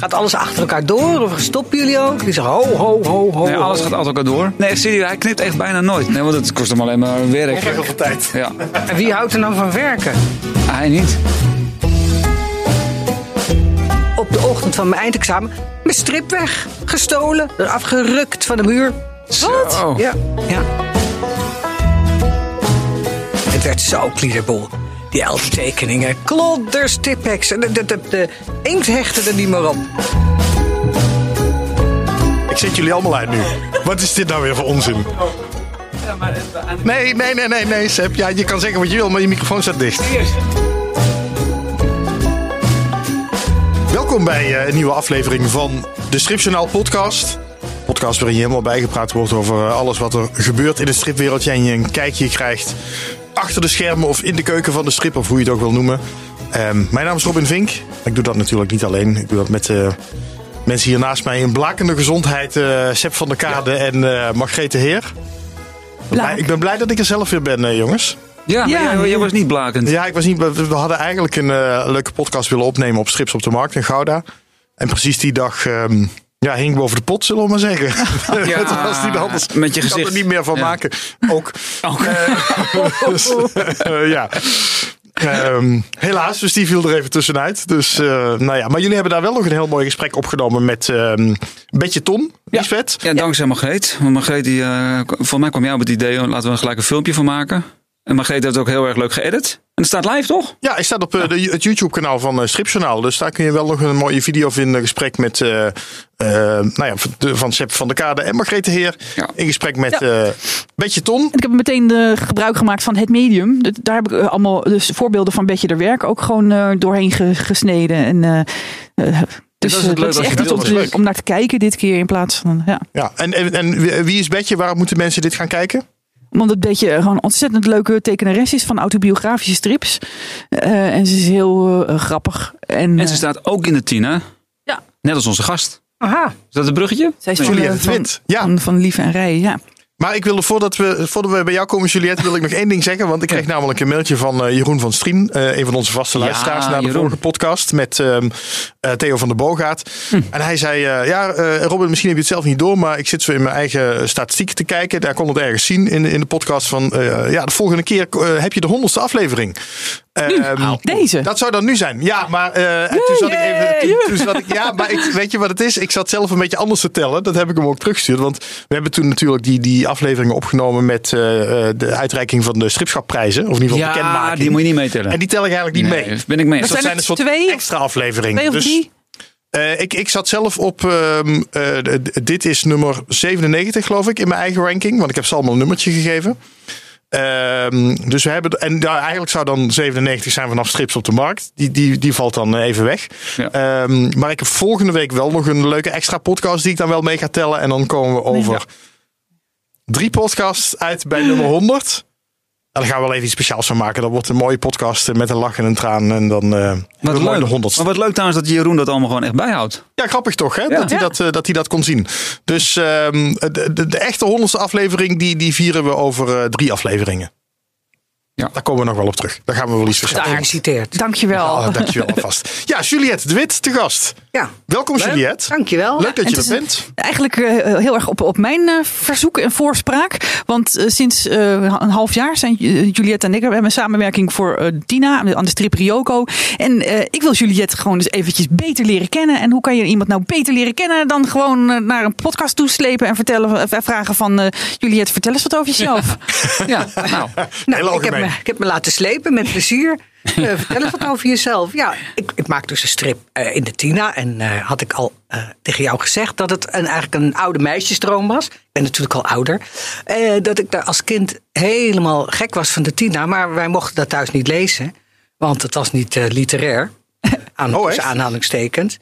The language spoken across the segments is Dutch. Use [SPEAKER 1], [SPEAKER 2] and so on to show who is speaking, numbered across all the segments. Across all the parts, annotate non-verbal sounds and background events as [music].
[SPEAKER 1] Gaat alles achter elkaar door? Of stoppen jullie ook? Die zeggen ho, ho, ho, ho.
[SPEAKER 2] Nee,
[SPEAKER 1] ho.
[SPEAKER 2] alles gaat altijd elkaar door. Nee, serieus, hij knipt echt bijna nooit. Nee, want het kost hem alleen maar werk.
[SPEAKER 3] Heel veel tijd.
[SPEAKER 2] Ja,
[SPEAKER 1] En wie houdt er nou van werken?
[SPEAKER 2] hij niet.
[SPEAKER 1] Op de ochtend van mijn eindexamen mijn strip weg. Gestolen, eraf gerukt van de muur.
[SPEAKER 2] Zo. Oh.
[SPEAKER 1] Ja, ja. Het werd zo kliederbol. Die elf tekeningen, klodders, tipex. De, de, de, de inkt hechtte er niet meer op.
[SPEAKER 3] Ik zet jullie allemaal uit nu. Wat is dit nou weer voor onzin? Nee, nee, nee, nee, nee, Seb. Ja, je kan zeggen wat je wil, maar je microfoon staat dicht. Welkom bij eh, een nieuwe aflevering van de Stripjournaal podcast. Podcast waarin je helemaal bijgepraat wordt over eh, alles wat er gebeurt in het stripwereldje. En je een kijkje krijgt achter de schermen of in de keuken van de strip, of hoe je het ook wil noemen. Ehm, mijn naam is Robin Vink. Ik doe dat natuurlijk niet alleen. Ik doe dat met eh, mensen hier naast mij in blakende gezondheid. eh Seb van der Kade en eh Margrethe Heer.
[SPEAKER 1] Blaak.
[SPEAKER 3] Ik ben blij dat ik er zelf weer ben, eh, jongens.
[SPEAKER 2] Ja, maar
[SPEAKER 1] Ja.
[SPEAKER 2] jij, jij was niet blakend.
[SPEAKER 3] Ja, ik was niet. We we hadden eigenlijk een eh, leuke podcast willen opnemen op Schips op de Markt in Gouda. En precies die dag ehm, ja, hing boven de pot, zullen we maar zeggen. [laughs]
[SPEAKER 2] Ja,
[SPEAKER 3] Het was niet anders.
[SPEAKER 2] met je
[SPEAKER 3] Ik kan
[SPEAKER 2] gezicht.
[SPEAKER 3] er niet meer van
[SPEAKER 2] Ja.
[SPEAKER 3] maken. Ook. Eh, dus, eh, ja. Ehm, helaas, dus die viel er even tussenuit. Dus, eh, nou ja. Maar jullie hebben daar wel nog een heel mooi gesprek opgenomen met ehm Betje Ton. Die is vet.
[SPEAKER 2] Ja, dankzij Margreet. Want Margreet, die, eh, k- volgens mij kwam jij op het idee, oh, laten we er gelijk een filmpje van maken. En Margreet heeft ook heel erg leuk geëdit. En het staat live, toch?
[SPEAKER 3] Ja, hij staat op eh, de, het YouTube-kanaal van eh Stripjournaal. Dus daar kun je wel nog een mooie video vinden. Een gesprek met, eh, eh, nou ja, van- de- van Sepp van der Kade en Margrethe Heer.
[SPEAKER 2] Ja.
[SPEAKER 3] In gesprek met
[SPEAKER 4] Ja.
[SPEAKER 3] eh Betje Ton.
[SPEAKER 4] En ik heb meteen eh, gebruik gemaakt van het medium. Dat- Daar heb ik eh, allemaal dus voorbeelden van Betje de Werk ook gewoon eh, doorheen ge- gesneden. En, eh, eh, dus
[SPEAKER 2] het
[SPEAKER 4] eh,
[SPEAKER 2] leuk
[SPEAKER 4] dat
[SPEAKER 2] als
[SPEAKER 4] is
[SPEAKER 2] je
[SPEAKER 4] echt
[SPEAKER 2] wil,
[SPEAKER 4] iets om,
[SPEAKER 3] dat is leuk.
[SPEAKER 4] om naar te kijken dit keer in plaats van... Ja.
[SPEAKER 3] Ja, en, en, en wie- wie is Betje? Waarom moeten mensen dit gaan kijken?
[SPEAKER 4] Omdat Betje eh, gewoon een ontzettend leuke tekenares is van autobiografische strips. Eh, en ze is heel eh, grappig. En,
[SPEAKER 2] En ze
[SPEAKER 4] eh,
[SPEAKER 2] staat ook in de Tina.
[SPEAKER 4] Ja.
[SPEAKER 2] Net als onze gast.
[SPEAKER 1] Aha.
[SPEAKER 2] Is dat een bruggetje?
[SPEAKER 4] zij is
[SPEAKER 2] Nee.
[SPEAKER 4] van,
[SPEAKER 3] Juliette
[SPEAKER 4] eh, van-
[SPEAKER 3] Twint, ja.
[SPEAKER 4] van, van Lief en Rij, ja.
[SPEAKER 3] Maar ik wilde voordat we, voordat we bij jou komen, Juliette, wil ik nog één ding zeggen. Want ik kreeg namelijk een mailtje van eh, Jeroen van Striem, eh, een van onze vaste
[SPEAKER 2] Ja,
[SPEAKER 3] luisteraars, na de
[SPEAKER 2] Jeroen.
[SPEAKER 3] vorige podcast met ehm, eh, Theo van der Boogaard.
[SPEAKER 2] Hm.
[SPEAKER 3] En hij zei, eh, ja eh, Robin, misschien heb je het zelf niet door, maar ik zit zo in mijn eigen statistiek te kijken. Daar kon het ergens zien in, in de podcast van, eh, ja, de volgende keer eh, heb je de honderdste aflevering.
[SPEAKER 2] Hm.
[SPEAKER 3] Ehm,
[SPEAKER 4] Deze.
[SPEAKER 3] dat zou dan nu zijn. Ja, maar eh, en toen zat ik even.
[SPEAKER 4] Yay!
[SPEAKER 3] toen- toen zat ik, ja, maar ik, weet je wat het is? Ik zat zelf een beetje anders te tellen. Dat heb ik hem ook teruggestuurd. Want we hebben toen natuurlijk die, die afleveringen opgenomen met eh, eh, de uitreiking van de stripschapprijzen. Of in ieder
[SPEAKER 2] Ja,
[SPEAKER 3] geval bekendmaking.
[SPEAKER 2] die moet je niet meetellen.
[SPEAKER 3] En die tel ik eigenlijk niet
[SPEAKER 2] Nee,
[SPEAKER 3] mee.
[SPEAKER 2] Ben ik mee.
[SPEAKER 3] Dus dat
[SPEAKER 4] zijn
[SPEAKER 3] zijn
[SPEAKER 4] er
[SPEAKER 3] een soort
[SPEAKER 4] twee?
[SPEAKER 3] extra afleveringen.
[SPEAKER 4] Twee of
[SPEAKER 3] Dus,
[SPEAKER 4] drie?
[SPEAKER 3] eh, ik, ik zat zelf op. ehm, eh, d- d- dit is nummer 97, geloof ik, in mijn eigen ranking. Want ik heb ze allemaal een nummertje gegeven. Ehm, dus we hebben. En ja, eigenlijk zou dan 97 zijn vanaf strips op de markt. Die, die, die valt dan eh, even weg.
[SPEAKER 2] Ja.
[SPEAKER 3] Ehm, maar ik heb volgende week wel nog een leuke extra podcast die ik dan wel mee ga tellen. En dan komen we over drie podcasts uit bij nummer 100. En daar gaan we wel even iets speciaals van maken. Dat wordt een mooie podcast eh, met een lach en een traan. En dan eh
[SPEAKER 2] Wat
[SPEAKER 3] een mooie
[SPEAKER 2] leuk.
[SPEAKER 3] 100
[SPEAKER 2] Maar wat leuk trouwens dat Jeroen dat allemaal gewoon echt [laughs] bijhoudt.
[SPEAKER 3] ja, grappig toch, hè?
[SPEAKER 2] Ja.
[SPEAKER 3] Dat, hij
[SPEAKER 4] Ja.
[SPEAKER 3] dat, eh, dat hij dat kon zien. Dus ehm, de, de, de echte honderdste aflevering, die, die vieren we over eh, drie afleveringen.
[SPEAKER 2] Ja.
[SPEAKER 3] Daar komen we nog wel op terug. Daar gaan we wel iets
[SPEAKER 1] Daar.
[SPEAKER 3] verschillen.
[SPEAKER 1] Gefeliciteerd.
[SPEAKER 4] Dankjewel.
[SPEAKER 3] Oh, dankjewel alvast. Ja, Juliette de Wit, te gast.
[SPEAKER 1] Ja,
[SPEAKER 3] Welkom, Juliette.
[SPEAKER 1] dankjewel.
[SPEAKER 3] Leuk dat
[SPEAKER 4] En
[SPEAKER 3] je
[SPEAKER 4] het
[SPEAKER 3] er
[SPEAKER 4] is
[SPEAKER 3] bent.
[SPEAKER 4] Eigenlijk eh, heel erg op, op mijn eh, verzoek en voorspraak. Want eh, sinds eh, een half jaar zijn eh, Juliette en ik... We hebben een samenwerking voor eh, Tina aan de strip Ryoko. En eh, ik wil Juliette gewoon eens eventjes beter leren kennen. En hoe kan je iemand nou beter leren kennen... dan gewoon eh, naar een podcast toeslepen en vertellen, eh, vragen van... eh, Juliette, vertel eens wat over jezelf.
[SPEAKER 2] Ja, nou.
[SPEAKER 1] Nou,
[SPEAKER 3] Heel
[SPEAKER 1] ik, heb me,
[SPEAKER 3] algemeen.
[SPEAKER 1] ik heb me laten slepen met plezier.
[SPEAKER 3] [laughs]
[SPEAKER 1] Eh, vertel eens wat over jezelf. Ja, ik, ik maak dus een strip eh, in de Tina. En eh, had ik al eh, tegen jou gezegd dat het een, eigenlijk een oude meisjesdroom was. Ik ben natuurlijk al ouder. Eh, dat ik daar als kind helemaal gek was van de Tina. Maar wij mochten dat thuis niet lezen. Want het was niet eh,
[SPEAKER 3] [laughs]
[SPEAKER 1] literair. Aan,
[SPEAKER 3] Oh, echt?
[SPEAKER 1] tussen aanhalingstekens.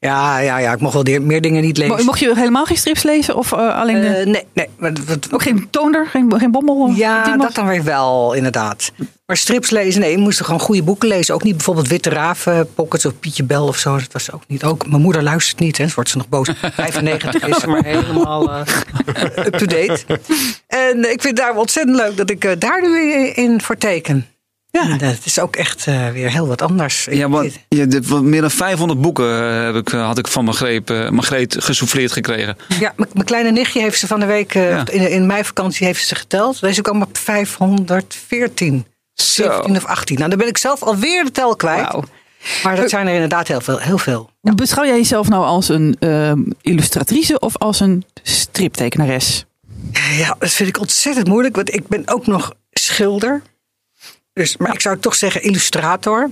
[SPEAKER 1] Ja, ja, ja, ik mocht wel die- meer dingen niet lezen.
[SPEAKER 4] Mo- Mocht je helemaal geen strips lezen? Of eh, alleen... de-
[SPEAKER 1] Eh, nee, nee. maar dat-
[SPEAKER 4] ook geen toonder? Geen, geen bommel? Die
[SPEAKER 1] ja,
[SPEAKER 4] mag-
[SPEAKER 1] dat dan weer wel, inderdaad. Maar strips lezen, nee, je moest gewoon goede boeken lezen. Ook niet bijvoorbeeld Witte Raaf, eh, Pockets of Pietje Bel of zo. Dat was ook niet. Ook mijn moeder luistert niet, hè. dus wordt ze nog boos. 95 is ze maar helemaal [laughs] eh, up-to-date. En ik vind het daar ontzettend leuk dat ik eh, daar nu in voor teken.
[SPEAKER 4] Ja.
[SPEAKER 1] En, eh, het is ook echt eh, weer heel wat anders.
[SPEAKER 2] Ja, want je, dit- wat- meer dan 500 boeken eh, heb ik, eh, had ik van Margreet, eh Margreet gesouffleerd gekregen.
[SPEAKER 1] Ja, m- mijn kleine nichtje heeft ze van de week, eh,
[SPEAKER 2] Ja.
[SPEAKER 1] in, in mijn vakantie heeft ze ze geteld. Deze kwam op 514.
[SPEAKER 2] Zo.
[SPEAKER 1] 17 of 18. Nou, dan ben ik zelf alweer de tel kwijt.
[SPEAKER 4] Wauw.
[SPEAKER 1] Maar dat zijn er inderdaad heel veel. Heel veel.
[SPEAKER 4] Beschouw jij jezelf nou als een ehm, illustratrice of als een striptekenares?
[SPEAKER 1] Ja, dat vind ik ontzettend moeilijk, want ik ben ook nog schilder. Dus, maar ik zou toch zeggen illustrator.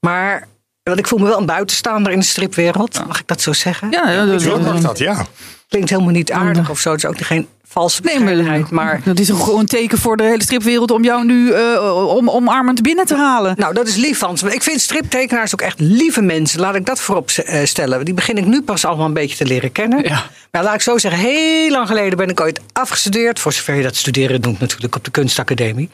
[SPEAKER 1] Maar, want ik voel me wel een buitenstaander in de stripwereld. Mag ik dat zo zeggen?
[SPEAKER 4] Ja, ja, dat-
[SPEAKER 3] Zo mag dat, ja.
[SPEAKER 1] Klinkt helemaal niet aardig of zo. Het is ook geen valse
[SPEAKER 4] Nee, maar,
[SPEAKER 1] bescheidenheid. Oh, [laughs] Maar
[SPEAKER 4] [laughs] dat is gewoon een teken voor de hele stripwereld om jou nu eh, om, omarmend binnen te halen.
[SPEAKER 1] Nou, dat is lief van ze. Maar ik vind striptekenaars ook echt lieve mensen. Laat ik dat voorop eh, stellen. Die begin ik nu pas allemaal een beetje te leren kennen. Maar laat ik zo zeggen, heel lang geleden ben ik ooit afgestudeerd. Voor zover je dat studeren doet natuurlijk op de kunstacademie.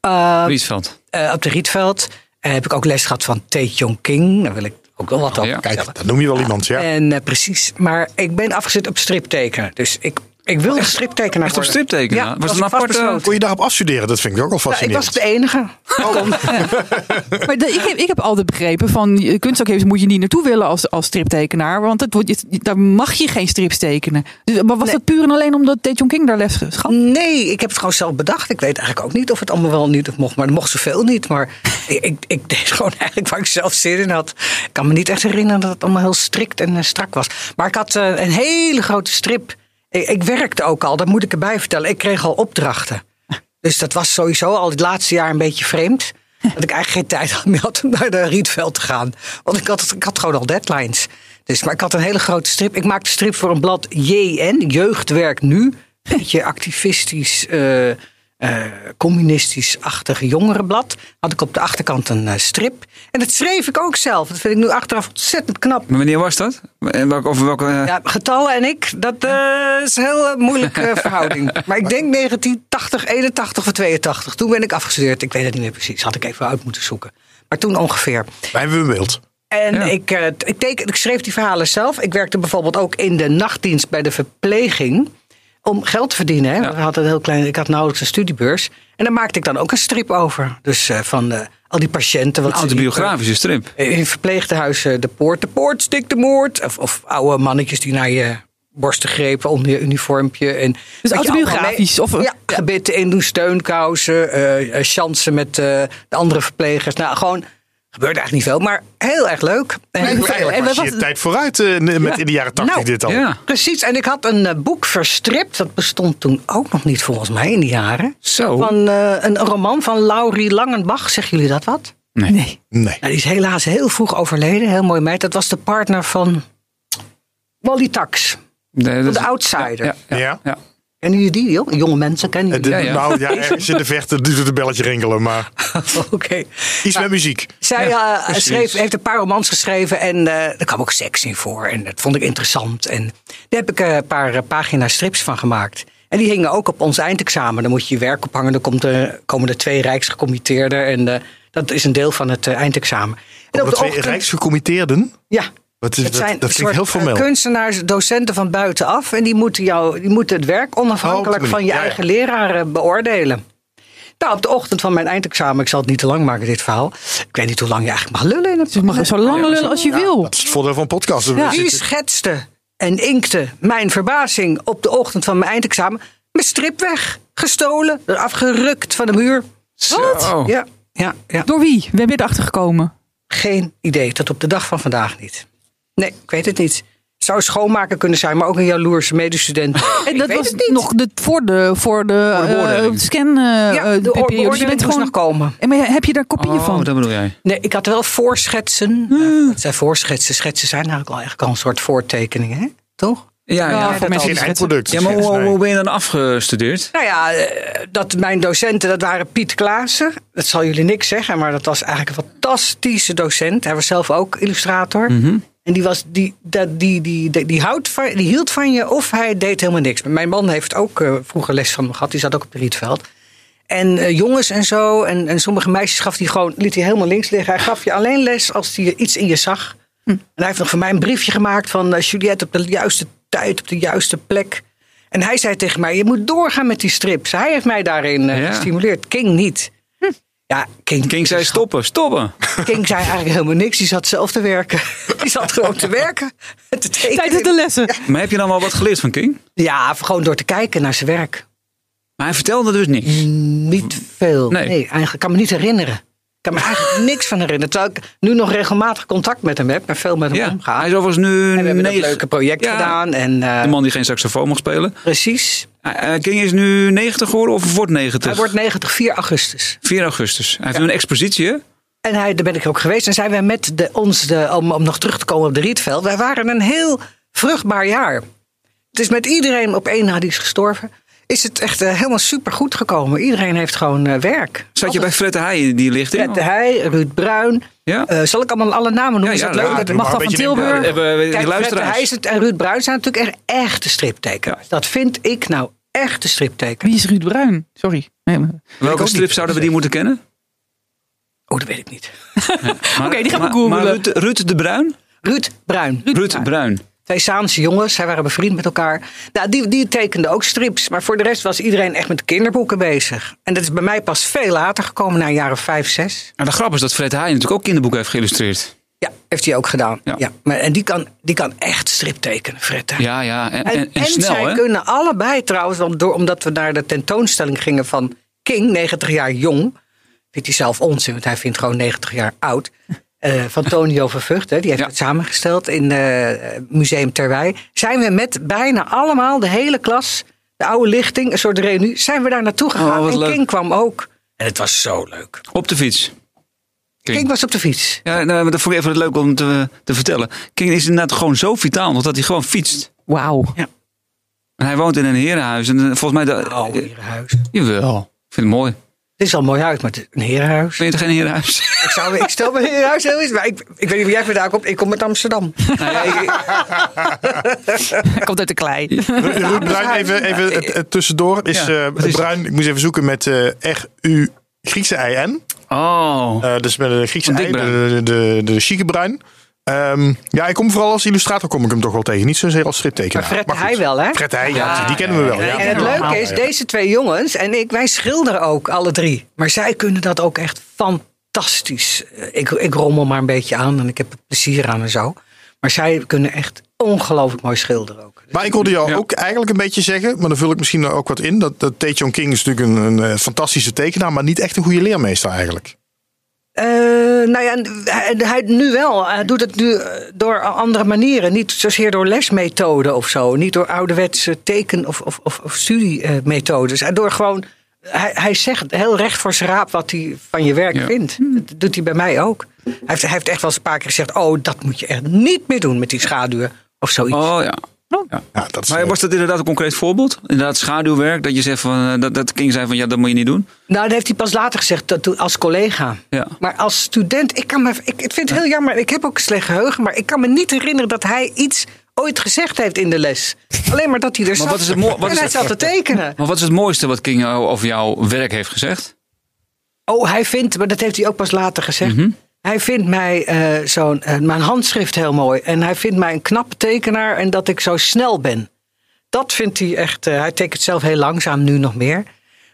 [SPEAKER 1] Eh,
[SPEAKER 2] Riesveld.
[SPEAKER 1] eh, op de Rietveld. Eh, heb ik ook les gehad van Tae Jong King. Daar wil ik ook wel wat
[SPEAKER 2] Oh,
[SPEAKER 1] over
[SPEAKER 2] ja.
[SPEAKER 1] vertellen.
[SPEAKER 3] Kijk, dat noem je wel iemand, ja.
[SPEAKER 1] En eh, precies. Maar ik ben afgezet op striptekenen. Dus ik, ik wil striptekenaar
[SPEAKER 2] Oh, Echt op
[SPEAKER 1] worden.
[SPEAKER 2] striptekenen?
[SPEAKER 1] Ja,
[SPEAKER 2] was
[SPEAKER 1] was
[SPEAKER 2] het een
[SPEAKER 1] ik
[SPEAKER 2] aparte...
[SPEAKER 1] vastbesloten.
[SPEAKER 3] Kon je daarop afstuderen? Dat vind ik ook al
[SPEAKER 1] Nou, ik was
[SPEAKER 3] fascinerend.
[SPEAKER 1] de enige.
[SPEAKER 4] Maar de- ik, heb, ik heb altijd begrepen van eh, kunstacademisch moet je niet naartoe willen als, als striptekenaar. Want dat wordt, je- daar mag je geen strips tekenen. Dus, maar was dat puur en alleen omdat Dejong King daar les gaf?
[SPEAKER 1] Nee, ik heb het gewoon zelf bedacht. Ik weet eigenlijk ook niet of het allemaal wel niet of mocht. Maar er mocht zoveel niet. Maar ik, ik, ik deed gewoon eigenlijk waar ik zelf zin in had. Ik kan me niet echt herinneren dat het allemaal heel strikt en eh, strak was. Maar ik had eh, een hele grote strip. Ik, ik werkte ook al, dat moet ik erbij vertellen. Ik kreeg al opdrachten. Dus dat was sowieso al het laatste jaar een beetje vreemd. Dat ik eigenlijk geen tijd meer had om naar de Rietveld te gaan. Want ik had, ik had gewoon al deadlines. Dus, maar ik had een hele grote strip. Ik maakte strip voor een blad JN, Jeugdwerk Nu. Een beetje activistisch, eh, eh, communistisch-achtig jongerenblad. Had ik op de achterkant een eh, strip. En dat schreef ik ook zelf. Dat vind ik nu achteraf ontzettend knap.
[SPEAKER 2] Maar wanneer was dat? En welke, over welke... eh,
[SPEAKER 1] Ja, getallen en ik, dat eh, is een heel eh, moeilijke eh, verhouding. Maar ik denk 1980, 81 of 82. Toen ben ik afgestudeerd. Ik weet het niet meer precies. Had ik even uit moeten zoeken. Maar toen ongeveer.
[SPEAKER 3] Wij hebben een beeld.
[SPEAKER 1] En
[SPEAKER 2] Ja.
[SPEAKER 1] ik, eh, t- ik, teken, ik schreef die verhalen zelf. Ik werkte bijvoorbeeld ook in de nachtdienst bij de verpleging. Om geld te verdienen. Hè.
[SPEAKER 2] Ja.
[SPEAKER 1] We hadden een heel klein, ik had nauwelijks een studiebeurs. En daar maakte ik dan ook een strip over. Dus eh, van eh, al die patiënten. Wat
[SPEAKER 2] Een
[SPEAKER 1] ze liepen.
[SPEAKER 2] autobiografische strip.
[SPEAKER 1] Eh, In verpleegtehuizen de poort, de poort stikt de moord. Of, of oude mannetjes die naar je borsten grepen onder je uniformpje. En dat je
[SPEAKER 4] Dus autobiografisch,
[SPEAKER 1] allemaal
[SPEAKER 4] of-
[SPEAKER 1] ja, gebitten in doen, steunkousen, eh eh, chansen met eh, de andere verplegers. Nou, gewoon, gebeurt eigenlijk niet veel, maar heel erg leuk. En
[SPEAKER 3] Nee,
[SPEAKER 1] heel erg
[SPEAKER 3] eigenlijk was je tijd vooruit eh, met in de jaren tachtig
[SPEAKER 1] Nou,
[SPEAKER 3] dit al.
[SPEAKER 2] Ja.
[SPEAKER 1] Precies, en ik had een eh, boek verstript, dat bestond toen ook nog niet volgens mij in die jaren.
[SPEAKER 2] Zo.
[SPEAKER 1] Van eh, een roman van Laurie Langenbach, zeggen jullie dat wat?
[SPEAKER 2] Nee.
[SPEAKER 4] Nee.
[SPEAKER 3] Nee.
[SPEAKER 1] Nou, die is helaas heel vroeg overleden. Heel mooi meid. Dat was de partner van Wally Tax.
[SPEAKER 2] Nee, dat
[SPEAKER 1] Van de
[SPEAKER 2] is-
[SPEAKER 1] Outsider.
[SPEAKER 2] Ja. ja,
[SPEAKER 3] Ja.
[SPEAKER 2] ja.
[SPEAKER 1] Kennen jullie die? joh? Jonge mensen kennen
[SPEAKER 3] Eh,
[SPEAKER 1] jullie
[SPEAKER 3] de-
[SPEAKER 1] die?
[SPEAKER 2] ja.
[SPEAKER 3] Nou ja, ergens in de verte doet het een belletje rinkelen, maar
[SPEAKER 1] [laughs] Oké. Nou,
[SPEAKER 3] iets met muziek.
[SPEAKER 1] Zij
[SPEAKER 2] Ja,
[SPEAKER 1] eh,
[SPEAKER 2] precies.
[SPEAKER 1] schreef, heeft een paar romans geschreven en eh er kwam ook seks in voor. En dat vond ik interessant. En daar heb ik eh, een paar eh, pagina strips van gemaakt. En die hingen ook op ons eindexamen. Dan moet je je werk ophangen. Dan komt er, komen er twee rijksgecommitteerden. En eh, dat is een deel van het eh, eindexamen. En
[SPEAKER 3] De
[SPEAKER 1] de
[SPEAKER 3] twee
[SPEAKER 1] ochtend-
[SPEAKER 3] rijksgecommitteerden.
[SPEAKER 1] Ja,
[SPEAKER 3] Wat is,
[SPEAKER 1] Het
[SPEAKER 3] dat,
[SPEAKER 1] zijn
[SPEAKER 3] dat
[SPEAKER 1] een
[SPEAKER 3] klinkt heel
[SPEAKER 1] soort, eh,
[SPEAKER 3] formeel.
[SPEAKER 1] kunstenaars, docenten van buitenaf. En die moeten, jou, die moeten het werk
[SPEAKER 3] Oh, op
[SPEAKER 1] onafhankelijk
[SPEAKER 3] die
[SPEAKER 1] van je
[SPEAKER 3] manier. Ja, ja.
[SPEAKER 1] eigen leraar eh, beoordelen. Nou, op de ochtend van mijn eindexamen, ik zal het niet te lang maken, dit verhaal. Ik weet niet hoe lang je eigenlijk mag lullen in het
[SPEAKER 4] Dus je mag zo lang lullen als je wil.
[SPEAKER 3] Dat is het voordeel van podcasten.
[SPEAKER 4] Ja.
[SPEAKER 1] Wie schetste en inkte mijn verbazing op de ochtend van mijn eindexamen? Mijn strip weg, gestolen, eraf gerukt van de muur.
[SPEAKER 2] Zo.
[SPEAKER 1] Ja, ja, ja.
[SPEAKER 4] Door wie? We hebben dit achtergekomen.
[SPEAKER 1] Geen idee. Tot op de dag van vandaag niet. Nee, ik weet het niet. Het zou schoonmaker kunnen zijn, maar ook een jaloerse medestudent.
[SPEAKER 4] En
[SPEAKER 1] Ik
[SPEAKER 4] [laughs] dat
[SPEAKER 1] weet
[SPEAKER 4] was
[SPEAKER 1] het niet.
[SPEAKER 4] nog de, voor de, voor de,
[SPEAKER 2] beoordeling.
[SPEAKER 4] eh, scan eh,
[SPEAKER 1] Ja,
[SPEAKER 4] eh,
[SPEAKER 1] de
[SPEAKER 4] periode.
[SPEAKER 1] oor-
[SPEAKER 4] Dus je
[SPEAKER 1] beoordeling
[SPEAKER 4] bent
[SPEAKER 1] moest nog komen.
[SPEAKER 4] En maar heb je daar kopieën
[SPEAKER 2] Oh,
[SPEAKER 4] van?
[SPEAKER 2] dat bedoel jij.
[SPEAKER 1] Nee, ik had wel voorschetsen.
[SPEAKER 4] Hmm.
[SPEAKER 1] Ja, wat zijn voorschetsen? Schetsen zijn eigenlijk al, eigenlijk al een soort voortekeningen, hè? toch?
[SPEAKER 2] Ja, ja.
[SPEAKER 4] voor mensen
[SPEAKER 3] Geen
[SPEAKER 4] die schetsen.
[SPEAKER 3] eindproduct.
[SPEAKER 2] ja maar eh,
[SPEAKER 3] Nee.
[SPEAKER 2] hoe, hoe ben je dan afgestudeerd?
[SPEAKER 1] Nou ja, eh, dat mijn docenten, dat waren Piet Klaassen. Dat zal jullie niks zeggen, maar dat was eigenlijk een fantastische docent. Hij was zelf ook illustrator. En die, was, die, dat die, die, die, die, houdt van, die hield van je of hij deed helemaal niks. Mijn man heeft ook eh, vroeger les van me gehad. Die zat ook op de Rietveld. En eh, jongens en zo, en, en sommige meisjes gaf hij gewoon, liet hij helemaal links liggen. Hij gaf je alleen les als hij iets in je zag.
[SPEAKER 2] Hm.
[SPEAKER 1] En hij heeft nog voor mij een briefje gemaakt van eh, Juliette op de juiste tijd, op de juiste plek. En hij zei tegen mij, je moet doorgaan met die strips. Hij heeft mij daarin eh,
[SPEAKER 2] Ja. Hm.
[SPEAKER 1] gestimuleerd, King niet. Ja, King,
[SPEAKER 2] King zei stoppen, stoppen.
[SPEAKER 1] King zei eigenlijk helemaal niks. Die zat zelf te werken. [laughs] Die zat gewoon te werken. en Te
[SPEAKER 4] Tijdens de
[SPEAKER 1] tekenen.
[SPEAKER 4] lessen.
[SPEAKER 2] Maar heb je dan wel wat geleerd van King?
[SPEAKER 1] Ja, gewoon door te kijken naar zijn werk.
[SPEAKER 2] Maar hij vertelde dus niks.
[SPEAKER 1] Niet veel.
[SPEAKER 2] Nee.
[SPEAKER 1] Nee, eigenlijk ik kan me niet herinneren. Ik kan me
[SPEAKER 2] [laughs]
[SPEAKER 1] eigenlijk niks van herinneren. Terwijl ik nu nog regelmatig contact met hem heb en veel met hem
[SPEAKER 2] Ja,
[SPEAKER 1] omga.
[SPEAKER 2] hij is overigens nu
[SPEAKER 1] En we hebben een
[SPEAKER 2] negen-
[SPEAKER 1] leuke project
[SPEAKER 2] Ja,
[SPEAKER 1] gedaan. En, eh,
[SPEAKER 2] De man die geen saxofoon mag spelen.
[SPEAKER 1] precies.
[SPEAKER 2] Eh, eh, King is nu 90 geworden of wordt 90?
[SPEAKER 1] Hij wordt 90, 4 augustus.
[SPEAKER 2] 4 augustus. Hij heeft nu een expositie, hè?
[SPEAKER 1] En hij, daar ben ik ook geweest. En zijn we met de, ons, de, om, om nog terug te komen op de Rietveld. Wij waren een heel vruchtbaar jaar. Het is met iedereen op één na die is gestorven. Is het echt eh, helemaal supergoed gekomen. Iedereen heeft gewoon eh, werk.
[SPEAKER 2] Zat je bij Fred de Heij in die lichting?
[SPEAKER 1] Fred de Heij, Ruud Bruin.
[SPEAKER 2] Ja.
[SPEAKER 1] Eh, zal ik allemaal alle namen noemen?
[SPEAKER 2] Ja,
[SPEAKER 1] is
[SPEAKER 2] ja,
[SPEAKER 1] dat
[SPEAKER 2] ja,
[SPEAKER 1] leuk?
[SPEAKER 3] doe
[SPEAKER 1] Dat
[SPEAKER 3] maar
[SPEAKER 4] Magda
[SPEAKER 3] een
[SPEAKER 4] van
[SPEAKER 3] beetje
[SPEAKER 4] Tilburg.
[SPEAKER 2] Ja, Eh, we hebben
[SPEAKER 1] Oh, Kijk,
[SPEAKER 2] die
[SPEAKER 1] Fred
[SPEAKER 2] luisteraars.
[SPEAKER 1] Heijzen en Ruud Bruin zijn natuurlijk echt echte striptekens.
[SPEAKER 2] Ja.
[SPEAKER 1] Dat vind ik nou echte striptekens.
[SPEAKER 4] Wie is Ruud Bruin? Sorry. Nee, maar-
[SPEAKER 2] Welke
[SPEAKER 1] ook
[SPEAKER 2] strip
[SPEAKER 1] niet.
[SPEAKER 2] zouden we die moeten kennen?
[SPEAKER 1] Oh, dat weet ik niet.
[SPEAKER 2] Maar-
[SPEAKER 4] Oké, die gaan we
[SPEAKER 2] maar-
[SPEAKER 4] googlen.
[SPEAKER 2] Maar Ruud, Ruud de Bruin?
[SPEAKER 1] Ruud Bruin.
[SPEAKER 2] Ruud Bruin.
[SPEAKER 1] Twee Saanse jongens, zij waren bevriend met elkaar. Nou, die, die tekenden ook strips. Maar voor de rest was iedereen echt met kinderboeken bezig. En dat is bij mij pas veel later gekomen, na een jaar of vijf, zes.
[SPEAKER 2] En Nou, de grap is dat Fred de Heij natuurlijk ook kinderboeken heeft geïllustreerd.
[SPEAKER 1] Ja, heeft hij ook gedaan.
[SPEAKER 2] Ja.
[SPEAKER 1] Ja. Maar, en die kan, die kan echt strip tekenen, Fred. hè.
[SPEAKER 2] Ja, ja. En, en,
[SPEAKER 1] En,
[SPEAKER 2] en snel,
[SPEAKER 1] zij
[SPEAKER 2] hè?
[SPEAKER 1] kunnen allebei trouwens, want door, omdat we naar de tentoonstelling gingen van King, 90 jaar jong. Vindt hij zelf onzin, want hij vindt gewoon 90 jaar oud. eh, van Tonio Vervucht, hè, die heeft
[SPEAKER 2] Ja.
[SPEAKER 1] het samengesteld in eh Museum Terwij. Zijn we met bijna allemaal, de hele klas, de oude lichting, een soort reunie, zijn we daar naartoe gegaan.
[SPEAKER 2] Oh, wat
[SPEAKER 1] en
[SPEAKER 2] leuk.
[SPEAKER 1] King kwam ook. En het was zo leuk.
[SPEAKER 2] Op de fiets. King.
[SPEAKER 1] King was op de fiets.
[SPEAKER 2] Ja, nou, maar dat vond ik even leuk om te, te vertellen. King is inderdaad gewoon zo vitaal, nog dat hij gewoon fietst.
[SPEAKER 4] Wauw.
[SPEAKER 2] En hij woont in een herenhuis. En eh, volgens mij... De,
[SPEAKER 1] Oh,
[SPEAKER 2] eh,
[SPEAKER 1] herenhuis. Het
[SPEAKER 2] jawel. Ik vind het mooi.
[SPEAKER 1] is al mooi uit, maar het is een herenhuis.
[SPEAKER 2] Vind je het geen herenhuis? [laughs]
[SPEAKER 1] Ik, zou, ik stel me in huis heel iets, maar ik, ik weet niet waar jij vandaan komt. Ik kom uit Amsterdam.
[SPEAKER 2] nou, ja, ik-
[SPEAKER 4] Hij komt uit de klei.
[SPEAKER 3] Ruud Bruin, even, even het- het tussendoor. Is,
[SPEAKER 2] Ja,
[SPEAKER 3] eh,
[SPEAKER 2] wat is
[SPEAKER 3] Bruin, ik moest even zoeken met eh, R-U Griekse I-N.
[SPEAKER 2] oh.
[SPEAKER 3] Eh, dus met de Griekse
[SPEAKER 2] Van Dick
[SPEAKER 3] ei, de, de, de, de chique bruin. Ehm, ja, ik kom vooral als illustrator kom ik hem toch wel tegen. Niet zozeer als striptekenaar.
[SPEAKER 1] Maar Fred
[SPEAKER 3] goed.
[SPEAKER 1] hij wel, hè?
[SPEAKER 3] Fred hij, ja, die- die kennen we wel. Ja.
[SPEAKER 1] en het leuke is, deze twee jongens en ik, wij schilderen ook, alle drie. Maar zij kunnen dat ook echt fantastisch. Eh, Ik, ik rommel maar een beetje aan en ik heb er plezier aan en zo. Maar zij kunnen echt ongelooflijk mooi schilderen ook.
[SPEAKER 3] Maar ik hoorde jou
[SPEAKER 2] Ja.
[SPEAKER 3] ook eigenlijk een beetje zeggen, maar dan vul ik misschien ook wat in. Dat, dat Tae-Chong King is natuurlijk een, een eh, fantastische tekenaar, maar niet echt een goede leermeester eigenlijk.
[SPEAKER 1] Eh, nou ja, hij, hij nu wel. Hij doet het nu eh, door andere manieren. Niet zozeer door lesmethoden of zo. Niet door ouderwetse teken- of, of, of, of studiemethodes. En door gewoon. Hij, hij zegt heel recht voor zijn raap wat hij van je werk
[SPEAKER 2] Ja.
[SPEAKER 1] vindt. Dat doet hij bij mij ook. Hij heeft, hij heeft echt wel eens een paar keer gezegd: Oh, dat moet je echt niet meer doen met die schaduwen of zoiets.
[SPEAKER 2] Oh ja.
[SPEAKER 3] Ja, dat is
[SPEAKER 2] Maar was dat inderdaad een concreet voorbeeld? Inderdaad schaduwwerk, dat je zegt van, eh, dat, dat King zei van ja, dat moet je niet doen.
[SPEAKER 1] Nou, dat heeft hij pas later gezegd dat, toen- als collega.
[SPEAKER 2] Ja.
[SPEAKER 1] Maar als student, ik, kan me, ik, ik vind het heel jammer. Ik heb ook een slecht geheugen, maar ik kan me niet herinneren dat hij iets ooit gezegd heeft in de les. Alleen maar dat hij er zat.
[SPEAKER 2] wat is het mooi- wat
[SPEAKER 1] en
[SPEAKER 2] is
[SPEAKER 1] hij
[SPEAKER 2] het-
[SPEAKER 1] zat te tekenen.
[SPEAKER 2] Maar wat is het mooiste wat King eh, over jouw werk heeft gezegd?
[SPEAKER 1] Oh, hij vindt, maar dat heeft hij ook pas later gezegd.
[SPEAKER 4] Mhm.
[SPEAKER 1] Hij vindt mij eh, zo'n, eh, mijn handschrift heel mooi. En hij vindt mij een knappe tekenaar en dat ik zo snel ben. Dat vindt hij echt. eh, hij tekent zelf heel langzaam nu nog meer.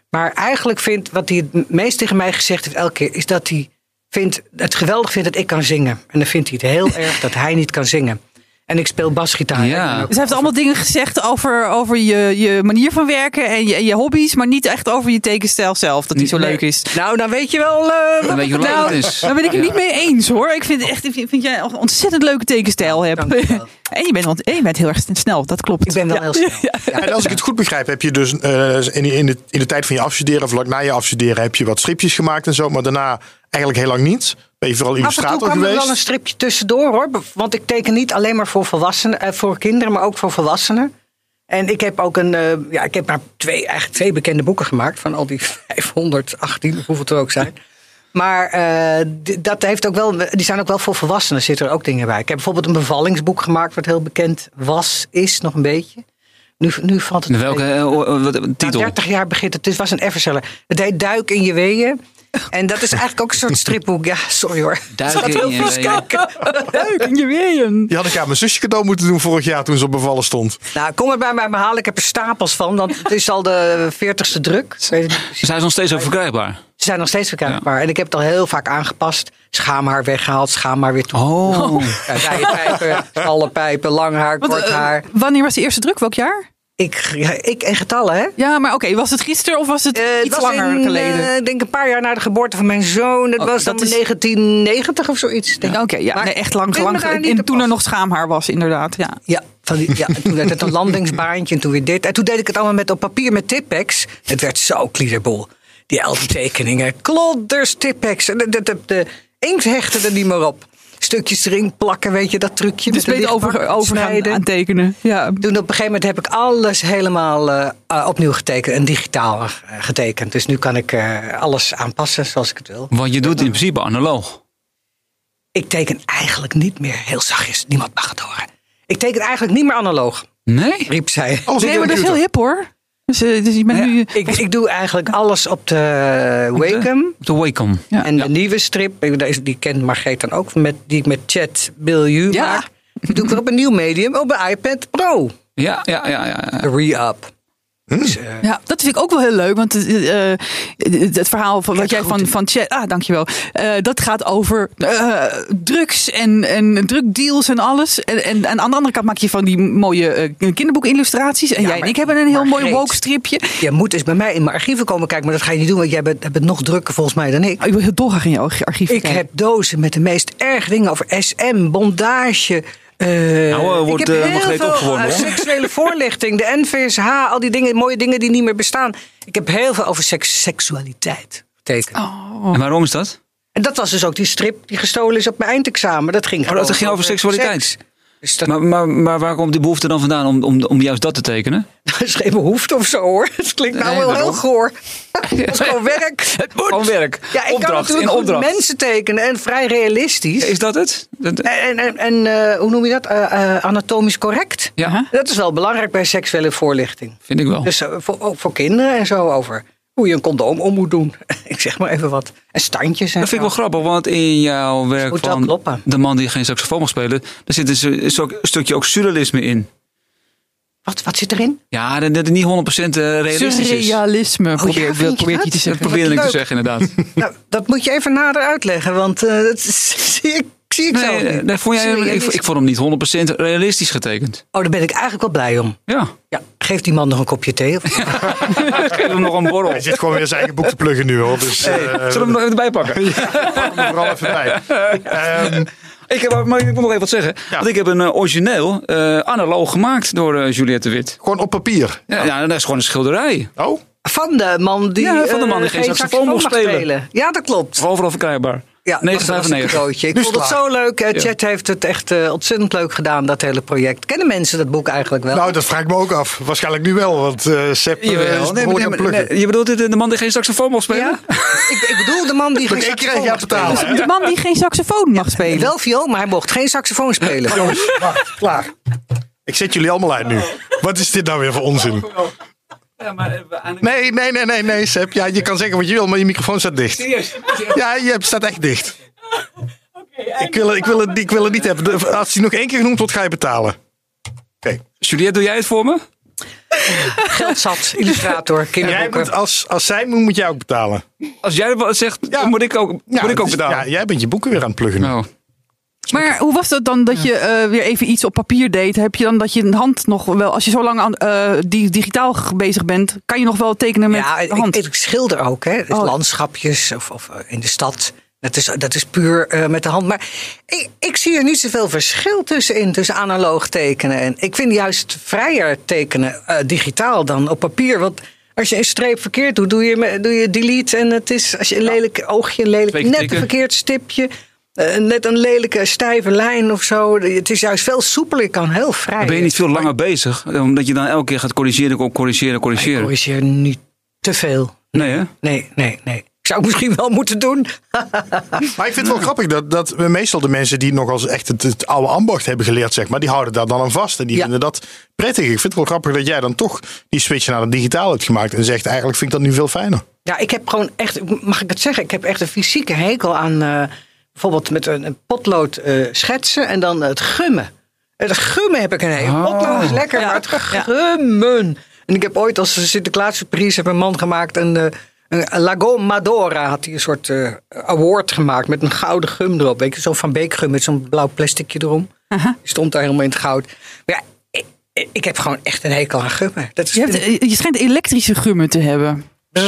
[SPEAKER 1] Maar eigenlijk vindt, wat hij het meest tegen mij gezegd heeft elke keer, is dat hij vindt, het geweldig vindt dat ik kan zingen. En dan vindt hij het heel erg dat hij niet kan zingen. En ik speel basgitaar.
[SPEAKER 2] Ja.
[SPEAKER 4] Dus hij heeft allemaal dingen gezegd over, over je, je manier van werken en je, en je hobby's, maar niet echt over je tekenstijl zelf, dat die zo leuk is.
[SPEAKER 1] Nou, dan weet je wel. eh,
[SPEAKER 2] Dan weet je hoe leuk
[SPEAKER 4] Nou,
[SPEAKER 2] het
[SPEAKER 1] [laughs]
[SPEAKER 2] is.
[SPEAKER 4] daar ben ik het
[SPEAKER 2] Ja.
[SPEAKER 4] niet mee eens hoor. Ik vind, echt, ik vind vind jij een ontzettend leuke tekenstijl hebt.
[SPEAKER 1] dankjewel.
[SPEAKER 4] [laughs] en je bent, wel- en je bent heel erg snel, dat klopt.
[SPEAKER 1] ik ben wel
[SPEAKER 4] Ja.
[SPEAKER 1] heel
[SPEAKER 4] [laughs]
[SPEAKER 1] snel.
[SPEAKER 3] En als ik het goed begrijp, heb je dus eh, in, die- in, de, in de tijd van je afstuderen of vlak na je afstuderen heb je wat stripjes gemaakt en zo, maar daarna eigenlijk heel lang niet. Ben je vooral
[SPEAKER 1] Af en toe
[SPEAKER 3] illustrator
[SPEAKER 1] kwam er
[SPEAKER 3] geweest?
[SPEAKER 1] wel een stripje tussendoor hoor. Bev- Want ik teken niet alleen maar voor, volwassenen, eh, voor kinderen, maar ook voor volwassenen. En ik heb ook een, eh, ja, ik heb maar twee, eigenlijk twee bekende boeken gemaakt van al die [laughs] 518, of hoeveel er ook zijn. Maar eh, d- dat heeft ook wel, die zijn ook wel voor volwassenen, zitten er ook dingen bij. Ik heb bijvoorbeeld een bevallingsboek gemaakt, wat heel bekend was, is nog een beetje. Nu, nu valt het.
[SPEAKER 2] Welke eh, o- o- wat- titel?
[SPEAKER 1] Nou, Na 30 jaar begint het. Dit was een Everseller. Het heet Duik in je weeën. En dat is eigenlijk ook een soort stripboek. Ja, sorry hoor.
[SPEAKER 5] Duiken
[SPEAKER 1] Zat heel
[SPEAKER 5] in je
[SPEAKER 1] vies
[SPEAKER 5] ween.
[SPEAKER 1] kijken.
[SPEAKER 4] [laughs] Duiken je weeën.
[SPEAKER 3] Die had ik aan mijn zusje cadeau moeten doen vorig jaar toen ze op bevallen stond. Oh,
[SPEAKER 1] Nou, kom er bij mij maar halen. Ik heb er stapels van. Want het is al de veertigste druk. [laughs] Ik weet het niet precies.
[SPEAKER 2] Dus hij is nog steeds ook verkrijgbaar.
[SPEAKER 1] Ze zijn nog steeds verkrijgbaar. En ik heb het al heel vaak aangepast. Schaamhaar weggehaald, schaamhaar weer toe.
[SPEAKER 2] Oh.
[SPEAKER 1] Ja, Rijenpijpen, stallenpijpen, lang haar,
[SPEAKER 4] Want,
[SPEAKER 1] kort
[SPEAKER 4] eh,
[SPEAKER 1] haar.
[SPEAKER 4] wanneer was die eerste druk? Welk jaar?
[SPEAKER 1] Ik, ja, ik en getallen, hè?
[SPEAKER 4] Ja, maar oké, was het gisteren of was het
[SPEAKER 1] Eh, het
[SPEAKER 4] iets
[SPEAKER 1] was
[SPEAKER 4] langer
[SPEAKER 1] in,
[SPEAKER 4] geleden?
[SPEAKER 1] eh, ik denk een paar jaar na de geboorte van mijn zoon. Het
[SPEAKER 4] Oh,
[SPEAKER 1] was dan
[SPEAKER 4] dat is-
[SPEAKER 1] 1990 of zoiets. denk ik.
[SPEAKER 4] Oké, ja,
[SPEAKER 1] Maar
[SPEAKER 4] nee, echt
[SPEAKER 1] ik
[SPEAKER 4] lang,
[SPEAKER 1] ben
[SPEAKER 4] lang
[SPEAKER 1] me daar
[SPEAKER 4] geleden.
[SPEAKER 1] niet
[SPEAKER 4] En
[SPEAKER 1] op
[SPEAKER 4] toen er
[SPEAKER 1] af.
[SPEAKER 4] nog schaamhaar was, inderdaad. Ja.
[SPEAKER 1] Ja, van die, ja, toen werd het een landingsbaantje en toen weer dit. En toen deed ik het allemaal met op papier met Tippex. Het werd zo kliederbol. Die tekeningen, klodders, Tippex. De, de, de, de inkt hechtte er niet meer op. Stukjes erin plakken, weet je, dat trucje.
[SPEAKER 4] Dus
[SPEAKER 1] met
[SPEAKER 4] beter over, over gaan aan tekenen. Ja.
[SPEAKER 1] Toen op een gegeven moment heb ik alles helemaal eh, eh, opnieuw getekend. En digitaal eh, getekend. Dus nu kan ik eh, alles aanpassen zoals ik het wil.
[SPEAKER 2] [laughs] Want je doet het in principe analoog.
[SPEAKER 1] Ik teken eigenlijk niet meer heel zachtjes. Niemand mag het horen. Ik teken eigenlijk niet meer analoog,
[SPEAKER 2] Nee?
[SPEAKER 1] riep zij.
[SPEAKER 3] Alles op
[SPEAKER 4] Nee,
[SPEAKER 3] de
[SPEAKER 4] maar dat is heel
[SPEAKER 3] computer.
[SPEAKER 4] hip hoor. Dus, eh, dus je bent
[SPEAKER 2] Ja,
[SPEAKER 4] nu...
[SPEAKER 1] Ik, ik doe eigenlijk alles op de Wacom.
[SPEAKER 2] Op de Wacom.
[SPEAKER 4] Ja.
[SPEAKER 1] En de nieuwe strip, eh, deze- die kent Margreet dan ook, met, die ik met Chat Bilju
[SPEAKER 4] Ja.
[SPEAKER 1] maak. Die doe ik weer op een nieuw medium, op een iPad Pro.
[SPEAKER 2] Ja, ja, ja. ja.
[SPEAKER 1] De Re-up.
[SPEAKER 3] Hm?
[SPEAKER 1] Dus, eh,
[SPEAKER 4] Ja, dat vind ik ook wel heel leuk. Want het, eh, eh, het verhaal van wat jij van, van chat. Ah, dankjewel. Eh dat gaat over eh, drugs en, en drugdeals en alles. En, en aan de andere kant maak je van die mooie eh, kinderboekillustraties. En
[SPEAKER 1] Ja,
[SPEAKER 4] jij en
[SPEAKER 1] maar-
[SPEAKER 4] ik hebben een heel
[SPEAKER 1] maar
[SPEAKER 4] mooi
[SPEAKER 1] Greet.
[SPEAKER 4] woke stripje.
[SPEAKER 1] je moet eens bij mij in mijn archieven komen kijken, maar dat ga je niet doen, want jij bent, hebt het nog drukker volgens mij dan ik.
[SPEAKER 4] Oh, ik wil heel dolgraag in jouw archief
[SPEAKER 2] Oh,
[SPEAKER 1] Ik heb dozen met de meest erge dingen over SM, bondage. eh,
[SPEAKER 2] Nou, eh, wordt,
[SPEAKER 1] ik
[SPEAKER 2] eh,
[SPEAKER 1] heb heel
[SPEAKER 2] Margreet
[SPEAKER 1] veel,
[SPEAKER 2] opgewonden,
[SPEAKER 1] eh,
[SPEAKER 2] hoor. [laughs]
[SPEAKER 1] seksuele voorlichting, de NVSH, al die dingen, mooie dingen die niet meer bestaan. Ik heb heel veel over seks, seksualiteit getekend.
[SPEAKER 2] En waarom is dat?
[SPEAKER 1] En dat was dus ook die strip die gestolen is op mijn eindexamen. Dat ging,
[SPEAKER 2] Oh,
[SPEAKER 1] gewoon
[SPEAKER 2] dat ging over seksualiteit.
[SPEAKER 1] seks. Dus dat
[SPEAKER 2] Maar, maar, maar waar komt die behoefte dan vandaan om, om, om juist dat te tekenen?
[SPEAKER 1] [laughs] dat is geen behoefte of zo hoor. Het klinkt nou
[SPEAKER 2] Nee,
[SPEAKER 1] wel
[SPEAKER 2] waarom?
[SPEAKER 1] heel
[SPEAKER 2] [laughs]
[SPEAKER 1] goor. Het is gewoon werk.
[SPEAKER 2] Het moet. Gewoon werk.
[SPEAKER 1] Ja, ik
[SPEAKER 2] opdracht.
[SPEAKER 1] kan natuurlijk
[SPEAKER 2] en
[SPEAKER 1] goed
[SPEAKER 2] opdracht.
[SPEAKER 1] mensen tekenen en vrij realistisch.
[SPEAKER 2] Is dat het? Dat-
[SPEAKER 1] En, en, en eh, hoe noem je dat? Eh, eh, anatomisch correct.
[SPEAKER 2] ja,
[SPEAKER 1] Dat is wel belangrijk bij seksuele voorlichting.
[SPEAKER 2] vind ik wel.
[SPEAKER 1] Dus eh, voor, ook voor kinderen en zo over hoe je een condoom om moet doen. [laughs] ik zeg maar even wat. En standjes en
[SPEAKER 2] dat vind ik
[SPEAKER 1] zo.
[SPEAKER 2] wel grappig, want in jouw werk
[SPEAKER 1] moet wel
[SPEAKER 2] van
[SPEAKER 1] kloppen.
[SPEAKER 2] de man die geen saxofoon mag spelen, daar zit een, su- su- stukje ook surrealisme in.
[SPEAKER 1] Wat, wat zit erin?
[SPEAKER 2] Ja, dat dat het niet 100% realistisch is.
[SPEAKER 4] Surrealisme. probeer,
[SPEAKER 1] Oh, vind je
[SPEAKER 4] probeer ik
[SPEAKER 1] dat?
[SPEAKER 4] je te
[SPEAKER 2] Dat
[SPEAKER 4] zeggen.
[SPEAKER 2] probeerde ik
[SPEAKER 1] Wat
[SPEAKER 2] te
[SPEAKER 1] leuk. [laughs]
[SPEAKER 2] zeggen, inderdaad.
[SPEAKER 1] nou, dat moet je even nader uitleggen, want eh, dat is- [laughs] zie ik, zie ik zelf
[SPEAKER 2] Nee,
[SPEAKER 1] niet.
[SPEAKER 2] nee, vond jij, ik,
[SPEAKER 1] Surrealistisch.
[SPEAKER 2] ik vond hem niet 100% realistisch getekend.
[SPEAKER 1] Oh, daar ben ik eigenlijk wel blij om.
[SPEAKER 2] Ja,
[SPEAKER 1] Ja, geef die man nog een kopje
[SPEAKER 2] [laughs]
[SPEAKER 1] thee. Of...
[SPEAKER 2] geef hem nog een borrel.
[SPEAKER 3] Hij zit gewoon weer zijn eigen boek te pluggen nu hoor. Dus eh
[SPEAKER 2] Zullen we hem nog even erbij pakken? [laughs]
[SPEAKER 3] pak hem vooral even bij. Ehm,
[SPEAKER 2] Ik heb, maar ik moet nog even wat zeggen. Want ik heb een eh, origineel eh, analoog gemaakt door eh, Juliette Wit.
[SPEAKER 3] gewoon op papier.
[SPEAKER 2] Ja, ja, dat is gewoon een schilderij.
[SPEAKER 3] Oh,
[SPEAKER 1] Van de man die,
[SPEAKER 2] Ja, van de man die
[SPEAKER 1] eh,
[SPEAKER 2] geen saxofoon mocht spelen.
[SPEAKER 1] Ja, dat klopt.
[SPEAKER 2] Overal verkrijgbaar.
[SPEAKER 1] Ja, dat was een
[SPEAKER 2] 9,95.
[SPEAKER 1] cadeautje. Ik
[SPEAKER 3] Dus
[SPEAKER 1] vond het
[SPEAKER 3] klaar.
[SPEAKER 1] zo leuk. Eh, Chat heeft het echt eh, ontzettend leuk gedaan, dat hele project. Kennen mensen dat boek eigenlijk wel?
[SPEAKER 3] nou dat vraag ik me ook af. Waarschijnlijk nu wel, want eh Sepp eh,
[SPEAKER 2] Jawel.
[SPEAKER 3] is
[SPEAKER 2] Nee,
[SPEAKER 3] behoorlijk aan
[SPEAKER 2] maar-
[SPEAKER 3] het pluggen.
[SPEAKER 2] nee, je bedoelt dit, eh, de man die geen saxofoon mag spelen?
[SPEAKER 1] ja? ik, ik bedoel de man die geen
[SPEAKER 3] Ik krijg
[SPEAKER 1] saxofoon
[SPEAKER 3] jou
[SPEAKER 1] mag spelen.
[SPEAKER 3] betalen. hè?
[SPEAKER 4] De man die geen saxofoon mag spelen.
[SPEAKER 1] Wel viool, maar hij mocht geen saxofoon spelen.
[SPEAKER 3] Jongens, wacht, klaar. Ik zet jullie allemaal uit nu. Wat is dit nou weer voor onzin?
[SPEAKER 4] eh,
[SPEAKER 3] Nee, nee, nee, nee, nee, Sepp. Ja, je kan zeggen wat je wil, maar je microfoon staat dicht. Ja, je hebt- staat echt dicht. Ik wil, het- ik, wil het, ik wil het niet hebben. De- Als hij nog één keer genoemd wordt, ga je betalen. Oké.
[SPEAKER 2] Juliette, doe jij het voor me?
[SPEAKER 1] Geld zat, illustrator,
[SPEAKER 3] Jij
[SPEAKER 1] kinderboeken.
[SPEAKER 3] moet, als, als zij moet, moet jij ook betalen.
[SPEAKER 2] Als jij wat zegt,
[SPEAKER 3] Ja.
[SPEAKER 2] dan moet ik ook, moet ik ook
[SPEAKER 3] dus-
[SPEAKER 2] betalen.
[SPEAKER 3] Ja, jij bent je boeken weer aan het pluggen. nu.
[SPEAKER 2] Nou,
[SPEAKER 4] Maar hoe was dat dan dat je eh, weer even iets op papier deed? Heb je dan dat je een hand nog wel, als je zo lang aan, eh, di- digitaal g- bezig bent, kan je nog wel tekenen met
[SPEAKER 1] Ja,
[SPEAKER 4] de
[SPEAKER 1] ik,
[SPEAKER 4] hand?
[SPEAKER 1] ik schilder ook, hè. Dus
[SPEAKER 4] Oh.
[SPEAKER 1] Landschapjes of, of eh, in de stad. Dat is, dat is puur eh, met de hand. Maar ik, ik zie er niet zoveel verschil tussenin, tussen analoog tekenen. En ik vind juist vrijer tekenen eh, digitaal dan op papier. Want als je een streep verkeerd doet, doe je, me- doe je delete. En het is, als je een lelijk oogje, een lelijk
[SPEAKER 2] Twee
[SPEAKER 1] net een
[SPEAKER 2] tikken.
[SPEAKER 1] verkeerd stipje... eh, net een lelijke stijve lijn of zo. Het is juist veel soepeler. Ik kan heel vrij.
[SPEAKER 2] dan ben je niet veel langer bezig. eh, Omdat je dan elke keer gaat corrigeren, corrigeren,
[SPEAKER 1] Ik
[SPEAKER 2] corrigeren.
[SPEAKER 1] corrigeer niet te veel.
[SPEAKER 2] Nee, hè?
[SPEAKER 1] Nee, nee, nee. Ik zou het misschien wel moeten doen.
[SPEAKER 3] Maar ik vind het wel grappig dat, dat we meestal de mensen die nog als echt het, het oude ambacht hebben geleerd, zeg maar, die houden daar dan aan vast. En die
[SPEAKER 1] Ja.
[SPEAKER 3] vinden dat prettig. Ik vind het wel grappig dat jij dan toch die switch naar het digitaal hebt gemaakt. En zegt, eigenlijk vind ik dat nu veel fijner.
[SPEAKER 1] Ja, ik heb gewoon echt, mag ik het zeggen, ik heb echt een fysieke hekel aan eh, bijvoorbeeld met een, een potlood eh, schetsen en dan het gummen. Het gummen heb ik een hekel.
[SPEAKER 2] Oh.
[SPEAKER 1] Potlood is lekker,
[SPEAKER 4] Ja.
[SPEAKER 1] maar het
[SPEAKER 4] Ja.
[SPEAKER 1] gummen. En ik heb ooit als Sinterklaas surprise heb een man gemaakt een, eh, een, een Lago Madora had hij een soort eh, award gemaakt met een gouden gum erop. Weet je, zo'n Van Beek gum met zo'n blauw plasticje erom. Die stond daar helemaal in het goud. Maar ja, ik, ik- ik heb gewoon echt een hekel aan gummen. Dat is
[SPEAKER 4] Je, hebt, eh, je schijnt elektrische gummen te hebben.
[SPEAKER 1] Mm.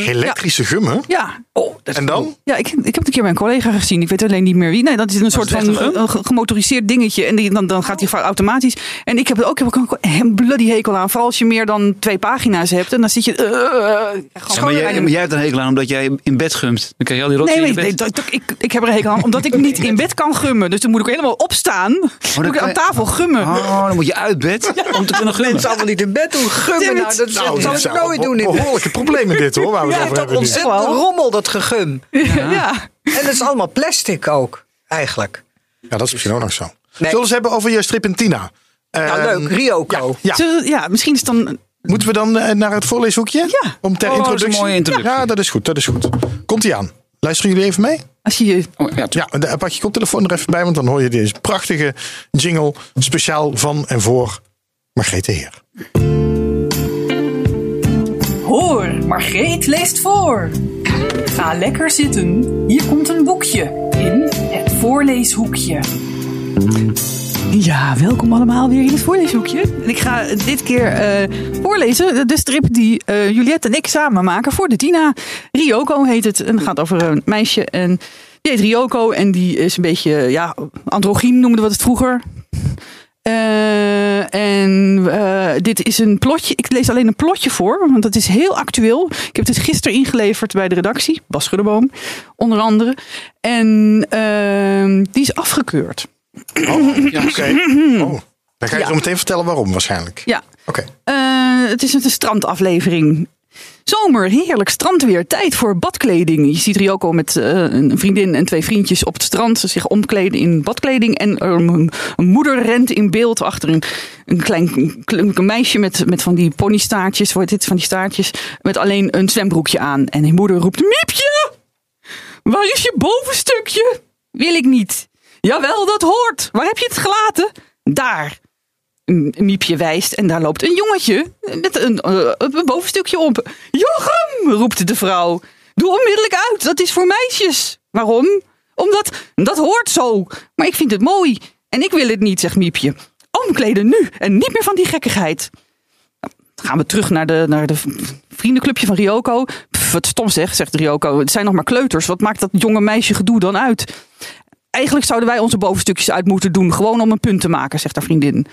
[SPEAKER 3] Elektrische gummen?
[SPEAKER 4] Ja.
[SPEAKER 1] oh, dat is
[SPEAKER 3] En dan?
[SPEAKER 4] Ja, ik, ik heb het een keer bij een collega gezien. Ik weet alleen niet meer wie. Nee, dat is een soort
[SPEAKER 2] het echt
[SPEAKER 4] van
[SPEAKER 2] een gum?
[SPEAKER 4] een ge- gemotoriseerd dingetje. En die, dan, dan gaat die vaak automatisch. En ik heb het ook, ik heb ook een- een bloody hekel aan. Vooral als je meer dan twee pagina's hebt. En dan zit je... eh, eh, eh,
[SPEAKER 2] Ja,
[SPEAKER 4] gewoon
[SPEAKER 2] maar jij,
[SPEAKER 4] bijna-
[SPEAKER 2] maar jij hebt een hekel aan omdat jij in bed gumt. Dan krijg je al die rotzooi
[SPEAKER 4] Nee, nee,
[SPEAKER 2] in je
[SPEAKER 4] nee
[SPEAKER 2] bed.
[SPEAKER 4] dat, dat- ik, ik heb er een hekel aan. Omdat ik niet in bed kan gummen. Dus dan moet ik helemaal opstaan.
[SPEAKER 2] Oh, dan
[SPEAKER 4] moet ik
[SPEAKER 2] kan
[SPEAKER 4] aan
[SPEAKER 2] je-
[SPEAKER 4] tafel gummen.
[SPEAKER 2] Oh, dan moet je uit bed
[SPEAKER 4] [laughs]
[SPEAKER 2] om te kunnen gummen.
[SPEAKER 1] mensen allemaal niet in bed doen. Gummen,
[SPEAKER 4] Tim,
[SPEAKER 1] nou, dat
[SPEAKER 3] Nou,
[SPEAKER 1] zou
[SPEAKER 3] dit
[SPEAKER 1] ik
[SPEAKER 3] zijn
[SPEAKER 1] nooit
[SPEAKER 3] wel
[SPEAKER 1] doen. in bed.
[SPEAKER 3] Behoorlijke problemen
[SPEAKER 1] [laughs]
[SPEAKER 3] dit hoor, waar we
[SPEAKER 1] Ja,
[SPEAKER 3] het over
[SPEAKER 1] dat
[SPEAKER 3] hebben nu.
[SPEAKER 4] ontzettend-
[SPEAKER 1] ontzettende
[SPEAKER 4] Wel.
[SPEAKER 1] rommel, dat gegum.
[SPEAKER 4] [laughs] Ja.
[SPEAKER 1] En dat is allemaal plastic ook, eigenlijk.
[SPEAKER 3] Ja, dat is misschien ook nog zo.
[SPEAKER 1] Nee.
[SPEAKER 3] Zullen we het hebben over je strip in Tina?
[SPEAKER 1] Nou,
[SPEAKER 3] Ehm,
[SPEAKER 1] leuk, Ryoko.
[SPEAKER 3] Ja,
[SPEAKER 4] Zullen we- ja, misschien is het dan...
[SPEAKER 3] moeten we dan eh, naar het voorleeshoekje?
[SPEAKER 4] Ja.
[SPEAKER 3] Om ter
[SPEAKER 2] Oh, dat is een
[SPEAKER 3] introductie.
[SPEAKER 2] mooie introductie.
[SPEAKER 3] Ja, dat is goed, dat is goed. Komt-ie aan. Luisteren jullie even mee?
[SPEAKER 4] Als je je
[SPEAKER 2] Oh, ja,
[SPEAKER 3] Ja, en, eh, pak je koptelefoon er even bij, want dan hoor je deze prachtige jingle speciaal van en voor Margrethe Heer.
[SPEAKER 5] Hoor, Margreet leest voor. Ga lekker zitten. Hier komt een boekje in het voorleeshoekje.
[SPEAKER 4] Ja, welkom allemaal weer in het voorleeshoekje. En ik ga dit keer eh, voorlezen de strip die eh Juliette en ik samen maken voor de Tina. Ryoko heet het en het gaat over een meisje en die heet Ryoko en die is een beetje, ja, androgyn noemden we het vroeger. Eh, en eh, dit is een plotje. Ik lees alleen een plotje voor, want dat is heel actueel. Ik heb dit gisteren ingeleverd bij de redactie, Bas Schuddeboom, onder andere. En eh, die is afgekeurd.
[SPEAKER 3] Oké. Oh, dan ga je
[SPEAKER 4] Ja.
[SPEAKER 3] zo meteen vertellen waarom waarschijnlijk.
[SPEAKER 4] Ja,
[SPEAKER 3] Oké.
[SPEAKER 4] Eh, het is een strandaflevering. Zomer, heerlijk strandweer, tijd voor badkleding. Je ziet Ryoko met eh, een vriendin en twee vriendjes op het strand ze zich omkleden in badkleding. En er een, een moeder rent in beeld achter een, een klein een meisje met, met van die ponystaartjes, wordt dit van die staartjes, met alleen een zwembroekje aan. En die moeder roept, Miepje, waar is je bovenstukje? Wil ik niet. Jawel, dat hoort. Waar heb je het gelaten? Daar. M- Miepje wijst en daar loopt een jongetje met een, eh, een bovenstukje op. Jochem, roept de vrouw. Doe onmiddellijk uit, dat is voor meisjes. Waarom? Omdat, dat hoort zo. Maar ik vind het mooi. En ik wil het niet, zegt Miepje. Omkleden nu en niet meer van die gekkigheid. Dan gaan we terug naar de, naar de vriendenclubje van Ryoko. Pff, wat stom zeg, zegt Ryoko. Het zijn nog maar kleuters. Wat maakt dat jonge meisje gedoe dan uit? Eigenlijk zouden wij onze bovenstukjes uit moeten doen. Gewoon om een punt te maken, zegt haar vriendin.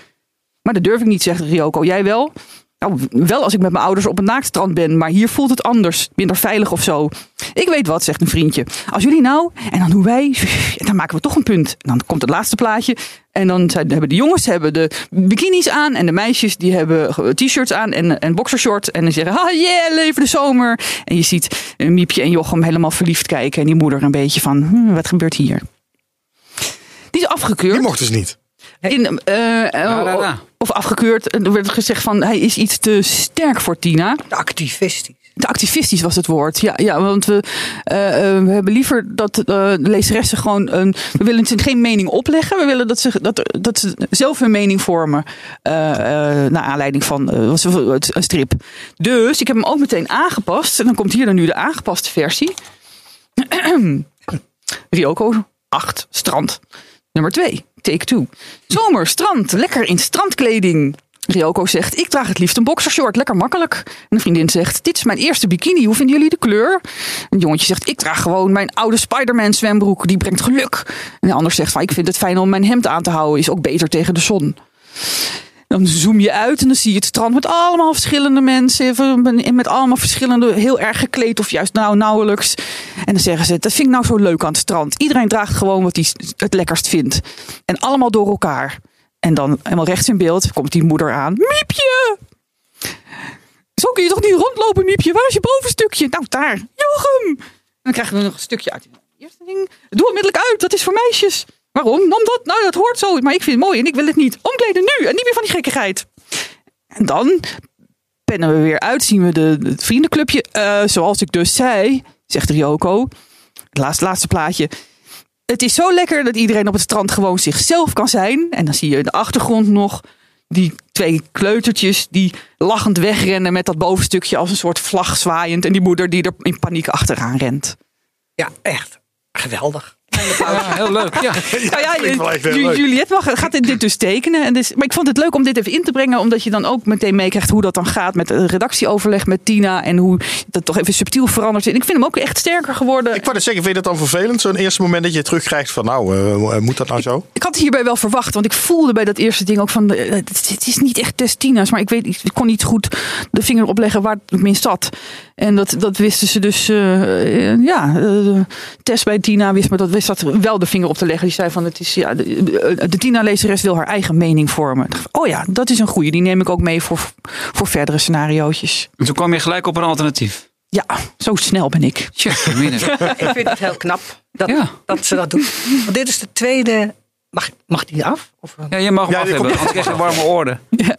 [SPEAKER 4] Maar dat durf ik niet, zegt Ryoko. Jij wel? Nou, wel als ik met mijn ouders op een naaktstrand ben, maar hier voelt het anders, minder veilig of zo. Ik weet wat, zegt een vriendje. Als jullie nou, en dan doen wij, [laughs] en dan maken we toch een punt. En dan komt het laatste plaatje en dan zijn- hebben de jongens hebben de bikinis aan en de meisjes die hebben ge- t-shirts aan en, en boxershorts. En dan zeggen, ah yeah, leven de zomer. En je ziet eh, Miepje en Jochem helemaal verliefd kijken en die moeder een beetje van, hmm, wat gebeurt hier? Die is afgekeurd.
[SPEAKER 3] Die mocht dus niet.
[SPEAKER 4] In, eh, eh,
[SPEAKER 2] ra, ra.
[SPEAKER 4] Of afgekeurd. Er werd gezegd van hij is iets te sterk voor Tina.
[SPEAKER 1] Activistisch.
[SPEAKER 4] Te activistisch was het woord. Ja, ja want we, eh, eh, we hebben liever dat eh, de lezeressen gewoon. Een, we willen ze geen mening opleggen. We willen dat ze, dat, dat ze zelf hun mening vormen. eh, eh, naar aanleiding van eh, wat ze- het- een strip. Dus ik heb hem ook meteen aangepast. En dan komt hier dan nu de aangepaste versie. Ryoko 8, strand. Nummer 2, take 2. Zomer, strand, lekker in strandkleding. Ryoko zegt, ik draag het liefst een boxershort, lekker makkelijk. En een vriendin zegt, dit is mijn eerste bikini, hoe vinden jullie de kleur? Een jongetje zegt, ik draag gewoon mijn oude Spider-Man zwembroek, die brengt geluk. En een ander zegt, van, ik vind het fijn om mijn hemd aan te houden, is ook beter tegen de zon. Dan zoom je uit en dan zie je het strand met allemaal verschillende mensen. van- Met allemaal verschillende, heel erg gekleed of juist nou nauwelijks. En dan zeggen ze, dat vind ik nou zo leuk aan het strand. Iedereen draagt gewoon wat hij het lekkerst vindt. En allemaal door elkaar. En dan helemaal rechts in beeld komt die moeder aan. Miepje! Zo kun je toch niet rondlopen, Miepje? Waar is je bovenstukje? Nou, daar. Jochem! En dan krijg je er nog een stukje uit. Eerste ding. Doe onmiddellijk uit, dat is voor meisjes. Waarom? Omdat, nou, dat hoort zo. Maar ik vind het mooi en ik wil het niet. Omkleden nu en niet meer van die gekkigheid. En dan pennen we weer uit, zien we de, het vriendenclubje. Eh, zoals ik dus zei, zegt Ryoko, het laatste, laatste plaatje. Het is zo lekker dat iedereen op het strand gewoon zichzelf kan zijn. En dan zie je in de achtergrond nog die twee kleutertjes die lachend wegrennen met dat bovenstukje als een soort vlag zwaaiend. En die moeder die er in paniek achteraan rent.
[SPEAKER 1] Ja, echt. Geweldig.
[SPEAKER 2] Ja, heel leuk. Ja.
[SPEAKER 4] Nou ja,
[SPEAKER 3] klinkt wel echt heel
[SPEAKER 4] Ju-
[SPEAKER 3] leuk.
[SPEAKER 4] Juliette mag- gaat dit, dit dus tekenen. En dus, maar ik vond het leuk om dit even in te brengen. Omdat je dan ook meteen meekrijgt hoe dat dan gaat met het redactieoverleg met Tina. En hoe dat toch even subtiel verandert. En ik vind hem ook echt sterker geworden.
[SPEAKER 3] Ik wou net zeggen, vind je dat dan vervelend? Zo'n eerste moment dat je terugkrijgt van nou, eh, moet dat nou zo?
[SPEAKER 4] Ik had het hierbij wel verwacht, want ik voelde bij dat eerste ding ook van. eh, Het het is niet echt des Tina's, maar ik, weet, ik kon niet goed de vinger opleggen waar het minst zat. En dat, dat wisten ze dus. eh, eh, ja, eh Tess bij Tina wist, maar dat wist dat wel de vinger op te leggen. Die zei van: het is, ja, de, eh, de Tina-lezeres wil haar eigen mening vormen. Ik dacht, Oh ja, dat is een goede. Die neem ik ook mee voor, voor verdere scenariootjes.
[SPEAKER 2] En toen kwam je gelijk op een alternatief.
[SPEAKER 4] Ja, zo snel ben ik.
[SPEAKER 2] Tja, minder.
[SPEAKER 1] Ik vind het heel knap dat,
[SPEAKER 2] [laughs] Ja.
[SPEAKER 1] dat ze dat doen. Want dit is de tweede. Mag, mag die af? Of, eh,
[SPEAKER 2] Ja, je mag hem
[SPEAKER 3] Ja,
[SPEAKER 2] af
[SPEAKER 3] die
[SPEAKER 2] hebben,
[SPEAKER 3] komt-
[SPEAKER 2] anders krijg je warme oren.
[SPEAKER 4] Ja.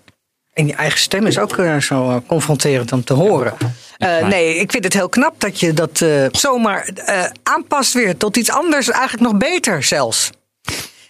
[SPEAKER 1] En je eigen stem is ook eh, zo eh, confronterend om te horen. Eh, nee, ik vind het heel knap dat je dat eh, zomaar eh, aanpast weer tot iets anders. Eigenlijk nog beter zelfs.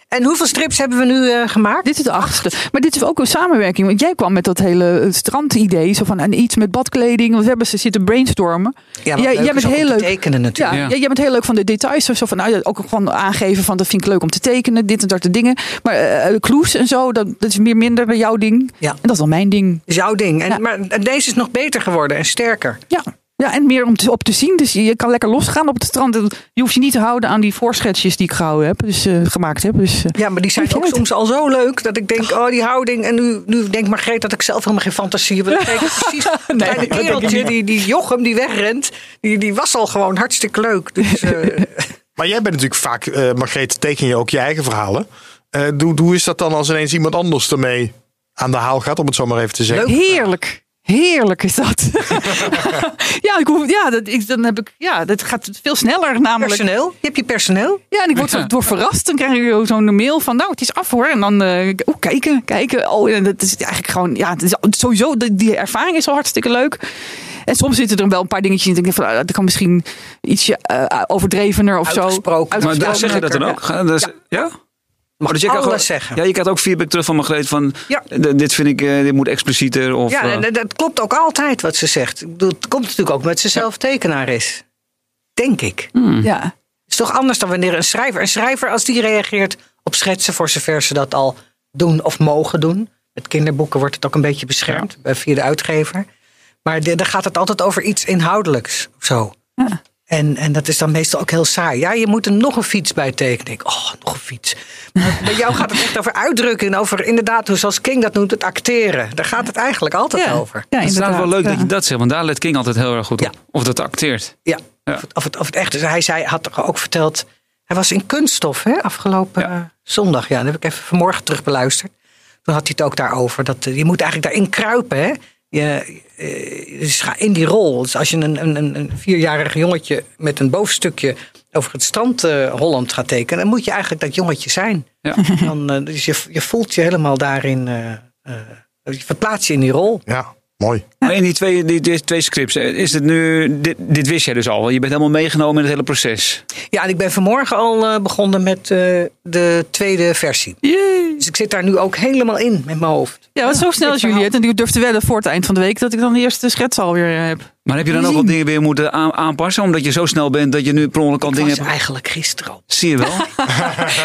[SPEAKER 1] En hoeveel strips hebben we nu eh, gemaakt?
[SPEAKER 4] Dit is de achtste. Maar dit is ook een samenwerking. Want jij kwam met dat hele eh, strandidee. Zo van en iets met badkleding. Want we hebben ze zitten brainstormen.
[SPEAKER 1] Ja, wat
[SPEAKER 4] jij,
[SPEAKER 1] leuk
[SPEAKER 4] jij
[SPEAKER 1] is
[SPEAKER 4] bent
[SPEAKER 1] ook
[SPEAKER 4] heel
[SPEAKER 1] om te
[SPEAKER 4] leuk.
[SPEAKER 1] tekenen
[SPEAKER 4] ja,
[SPEAKER 1] natuurlijk.
[SPEAKER 2] Ja.
[SPEAKER 4] jij- jij bent heel leuk van de details. Zo van, nou, ja, ook gewoon aangeven van dat vind ik leuk om te tekenen. Dit en dat soort dingen. Maar eh, eh, kloes en zo, dat, dat is meer minder bij jouw ding.
[SPEAKER 1] Ja.
[SPEAKER 4] En dat is dan mijn ding.
[SPEAKER 1] Is jouw ding. En,
[SPEAKER 4] Ja.
[SPEAKER 1] Maar deze is nog beter geworden en sterker.
[SPEAKER 4] Ja. Ja, en meer om te, op te zien. Dus je, je kan lekker losgaan op het strand. Je hoeft je niet te houden aan die voorschetsjes die ik gehouden heb. Dus eh, gemaakt heb. Dus, eh,
[SPEAKER 1] Ja, maar die zijn
[SPEAKER 4] Vind
[SPEAKER 1] ook
[SPEAKER 4] jij het?
[SPEAKER 1] soms al zo leuk dat ik denk, oh die houding. En nu, nu denkt Margreet dat ik zelf helemaal geen fantasie heb. [laughs] Dat betekent precies dat kleine kereltje, die, die Jochem die wegrent, die, die was al gewoon hartstikke leuk. [laughs] Dus eh,
[SPEAKER 3] Maar jij bent natuurlijk vaak, eh Margreet, teken je ook je eigen verhalen. Eh hoe, hoe is dat dan als ineens iemand anders ermee aan de haal gaat, om het zo maar even te zeggen?
[SPEAKER 4] Heerlijk. Heerlijk is
[SPEAKER 1] [laughs]
[SPEAKER 4] dat. ja, ik hoef, ja, dat, ik, dan heb ik, ja, dat gaat veel sneller namelijk.
[SPEAKER 1] personeel, je hebt je personeel.
[SPEAKER 4] Ja, en ik word zo door verrast. Dan krijg je zo'n mail van, nou, het is af hoor. En dan, eh, oeh, kijken, kijken. Oh, en dat is eigenlijk gewoon, ja, het is sowieso, die, die ervaring is al hartstikke leuk. En soms zitten er wel een paar dingetjes in. Ik denk van, ah, dat kan misschien ietsje eh, overdrevener of
[SPEAKER 1] Uitgesproken.
[SPEAKER 4] zo.
[SPEAKER 2] Maar daar
[SPEAKER 1] dat
[SPEAKER 2] zeg je dat dan ook? Ga- dat is- ja?
[SPEAKER 1] Mag
[SPEAKER 2] Dus
[SPEAKER 1] alles
[SPEAKER 2] je krijgt ook-
[SPEAKER 1] zeggen.
[SPEAKER 2] Ja, je krijgt ook feedback terug van Margreet van...
[SPEAKER 1] Ja.
[SPEAKER 2] d- Dit vind ik, eh, dit moet explicieter. Of,
[SPEAKER 1] Ja,
[SPEAKER 2] eh,
[SPEAKER 1] en dat- dat klopt ook altijd wat ze zegt. Ik bedoel, Het komt natuurlijk ook omdat ze zelf tekenaar is. Denk ik.
[SPEAKER 4] Ja.
[SPEAKER 1] Het is toch anders dan wanneer een schrijver. Een schrijver, als die reageert op schetsen, voor zover ze dat al doen of mogen doen. Met kinderboeken wordt het ook een beetje beschermd eh, via de uitgever. Maar de- dan gaat het altijd over iets inhoudelijks of zo.
[SPEAKER 4] Ja.
[SPEAKER 1] En, en dat is dan meestal ook heel saai. Ja, je moet er nog een fiets bij tekenen. Ik, oh, nog een fiets. Maar bij jou gaat het echt over uitdrukken. En over inderdaad, hoe zoals King dat noemt, het acteren. Daar gaat het eigenlijk altijd
[SPEAKER 4] ja.
[SPEAKER 1] over.
[SPEAKER 4] Ja,
[SPEAKER 2] het is inderdaad wel leuk dat
[SPEAKER 4] ja.
[SPEAKER 2] je dat zegt. Want daar let King altijd heel erg goed op. Of dat acteert.
[SPEAKER 1] Ja,
[SPEAKER 2] Ja.
[SPEAKER 1] Of, het, of, het, of het echt is. Hij zei, had toch ook verteld. Hij was in kunststof hè, afgelopen
[SPEAKER 2] Ja.
[SPEAKER 1] eh, zondag. Ja, dat heb ik even vanmorgen terug beluisterd. Toen had hij het ook daarover. Dat, eh, je moet eigenlijk daarin kruipen. Hè? Je, eh, dus ga in die rol. Dus als je een, een, een- een vierjarig jongetje met een bovenstukje over het strand eh, Holland gaat tekenen. Dan moet je eigenlijk dat jongetje
[SPEAKER 2] [laughs]
[SPEAKER 1] zijn. [laughs]
[SPEAKER 2] Ja.
[SPEAKER 1] Dan, eh, dus je, je voelt je helemaal daarin. eh, eh, je verplaatst je in die rol.
[SPEAKER 3] Ja, mooi.
[SPEAKER 2] Maar in die twee, die, die twee scripts, eh, is het nu, dit, dit wist jij dus al. Je bent helemaal meegenomen in het hele proces.
[SPEAKER 1] Ja, en ik ben vanmorgen al eh, begonnen met eh, de tweede versie.
[SPEAKER 4] Yay.
[SPEAKER 1] Dus ik zit daar nu ook helemaal in met mijn hoofd.
[SPEAKER 4] Ja, want zo snel is Juliette. En die durfde wel voor het eind van de week dat ik dan de eerste schets alweer heb.
[SPEAKER 2] Maar heb je dan ook wat dingen weer moeten aan- aanpassen? Omdat je zo snel bent dat je nu per ongeluk al
[SPEAKER 1] Dat
[SPEAKER 2] dingen
[SPEAKER 1] was
[SPEAKER 2] hebt.
[SPEAKER 1] eigenlijk gisteren al. [laughs]
[SPEAKER 2] Zie je wel?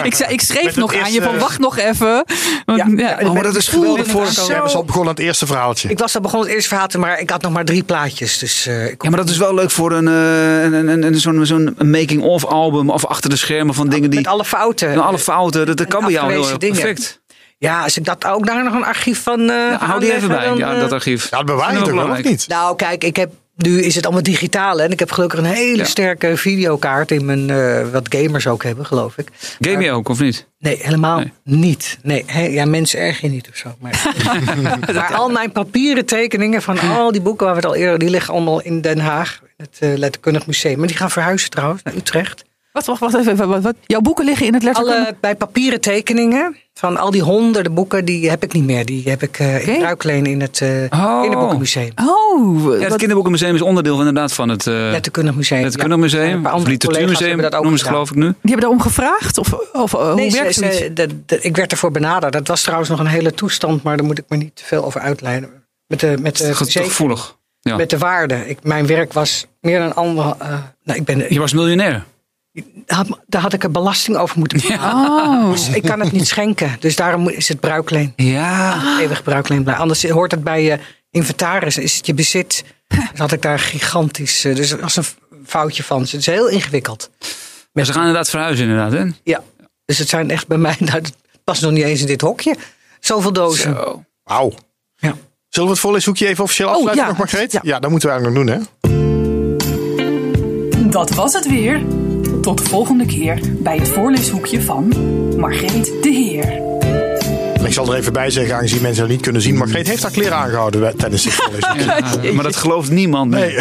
[SPEAKER 4] ik, zei, ik
[SPEAKER 3] Met
[SPEAKER 4] schreef
[SPEAKER 3] het
[SPEAKER 4] nog aan je
[SPEAKER 3] eerste-
[SPEAKER 4] van wacht nog even. Want,
[SPEAKER 1] Ja,
[SPEAKER 4] ja,
[SPEAKER 1] ja, maar
[SPEAKER 4] oh, dat
[SPEAKER 1] dat is
[SPEAKER 4] is geweldig
[SPEAKER 1] geweldig
[SPEAKER 4] voor
[SPEAKER 1] voor-
[SPEAKER 3] We
[SPEAKER 1] Zo.
[SPEAKER 3] hebben al begonnen aan het eerste verhaaltje.
[SPEAKER 1] Ik was al begonnen het eerste verhaal te maar ik had nog maar drie plaatjes. Dus eh, ik
[SPEAKER 2] Ja, maar dat is wel leuk voor een, eh, een, een, een, een- zo'n, zo'n making-of album. Of achter de schermen van dingen die.
[SPEAKER 1] Nou, met alle fouten.
[SPEAKER 2] Nou, alle fouten, dat, dat kan bij jou heel
[SPEAKER 1] Eh, afgewezen
[SPEAKER 2] erg
[SPEAKER 1] dingen.
[SPEAKER 2] perfect.
[SPEAKER 1] Ja, als ik dat ook daar nog een archief van. eh,
[SPEAKER 2] Ja, hou die
[SPEAKER 1] aanleggen,
[SPEAKER 2] even bij,
[SPEAKER 1] dan,
[SPEAKER 2] ja,
[SPEAKER 1] eh,
[SPEAKER 2] dat archief.
[SPEAKER 3] Ja, dat bewaar je
[SPEAKER 2] Vind ik
[SPEAKER 3] toch wel, of
[SPEAKER 2] belangrijk.
[SPEAKER 3] niet?
[SPEAKER 1] Nou, kijk, ik heb, nu is het allemaal digitaal. hè, En ik heb gelukkig een hele
[SPEAKER 2] Ja.
[SPEAKER 1] sterke videokaart in mijn. eh, wat gamers ook hebben, geloof ik.
[SPEAKER 2] Game je ook, of niet?
[SPEAKER 1] Nee, helemaal
[SPEAKER 2] Nee.
[SPEAKER 1] niet. Nee, hè, ja, mensen erg je niet of zo.
[SPEAKER 4] [laughs]
[SPEAKER 1] Maar, maar al mijn papieren tekeningen van al die boeken waar we het al eerder, die liggen allemaal in Den Haag, het eh, Letterkundig Museum. Maar die gaan verhuizen trouwens naar Utrecht.
[SPEAKER 4] Wat, wacht, wacht even. Wat, wat- jouw boeken liggen in het letterkunde?
[SPEAKER 1] Alle bij papieren tekeningen van al die honderden boeken, die heb ik niet meer. Die heb ik eh in
[SPEAKER 4] Oké.
[SPEAKER 1] bruikleen in het eh
[SPEAKER 2] Oh.
[SPEAKER 1] kinderboekenmuseum.
[SPEAKER 4] Oh,
[SPEAKER 2] Ja, het
[SPEAKER 4] wat-
[SPEAKER 2] kinderboekenmuseum is onderdeel van, inderdaad van het eh
[SPEAKER 1] Het museum.
[SPEAKER 2] het
[SPEAKER 1] Ja, een
[SPEAKER 2] kindermuseum.
[SPEAKER 1] paar
[SPEAKER 2] Of
[SPEAKER 1] andere collega's
[SPEAKER 2] literatuurmuseum
[SPEAKER 1] hebben dat ook
[SPEAKER 2] noemen ze het,
[SPEAKER 1] gedaan.
[SPEAKER 2] geloof ik nu.
[SPEAKER 4] die hebben daarom gevraagd? Of, of eh, hoe
[SPEAKER 1] Nee,
[SPEAKER 4] werkt
[SPEAKER 1] ze-
[SPEAKER 4] zoiets?
[SPEAKER 1] ze- de- de- ik werd ervoor benaderd. Dat was trouwens nog een hele toestand, maar daar moet ik me niet te veel over uitleiden. Met de, met de,
[SPEAKER 2] Het is
[SPEAKER 1] Eh, zeker
[SPEAKER 2] gevoelig. Ja.
[SPEAKER 4] Ah.
[SPEAKER 1] met de waarde. Ik, mijn werk was meer dan ander. eh, nou, ik ben,
[SPEAKER 2] Je was miljonair.
[SPEAKER 1] had- daar had ik een belasting over moeten betalen.
[SPEAKER 4] Oh,
[SPEAKER 1] Dus ik kan het niet schenken. Dus daarom moet- is het bruikleen.
[SPEAKER 2] Ja.
[SPEAKER 1] Eeuwig bruikleen blijven. Anders hoort het bij je inventaris. Is het je bezit? Dat had ik daar gigantisch. eh, Dus dat was een f- foutje van ze. Het is heel ingewikkeld.
[SPEAKER 2] Maar ze gaan inderdaad verhuizen, inderdaad. Hè?
[SPEAKER 1] Ja. Dus het zijn echt bij mij. [laughs] Nou, het past nog niet eens in dit hokje. Zoveel dozen.
[SPEAKER 2] Zo.
[SPEAKER 3] Wauw.
[SPEAKER 1] Ja.
[SPEAKER 3] Zullen we het voorleeshoekje even officieel afsluiten
[SPEAKER 4] Oh, ja.
[SPEAKER 3] nog, Margreet?
[SPEAKER 4] Ja.
[SPEAKER 3] Ja. dat moeten we eigenlijk nog doen, hè?
[SPEAKER 5] Dat was het weer. Tot de volgende keer bij het voorleeshoekje van Margreet de Heer.
[SPEAKER 3] En ik zal er even bij zeggen, aangezien mensen dat niet kunnen zien. Margreet heeft haar kleren aangehouden bij- tijdens dit
[SPEAKER 4] [laughs]
[SPEAKER 3] voorleeshoekje.
[SPEAKER 2] Ja, maar dat gelooft niemand.
[SPEAKER 3] Nee.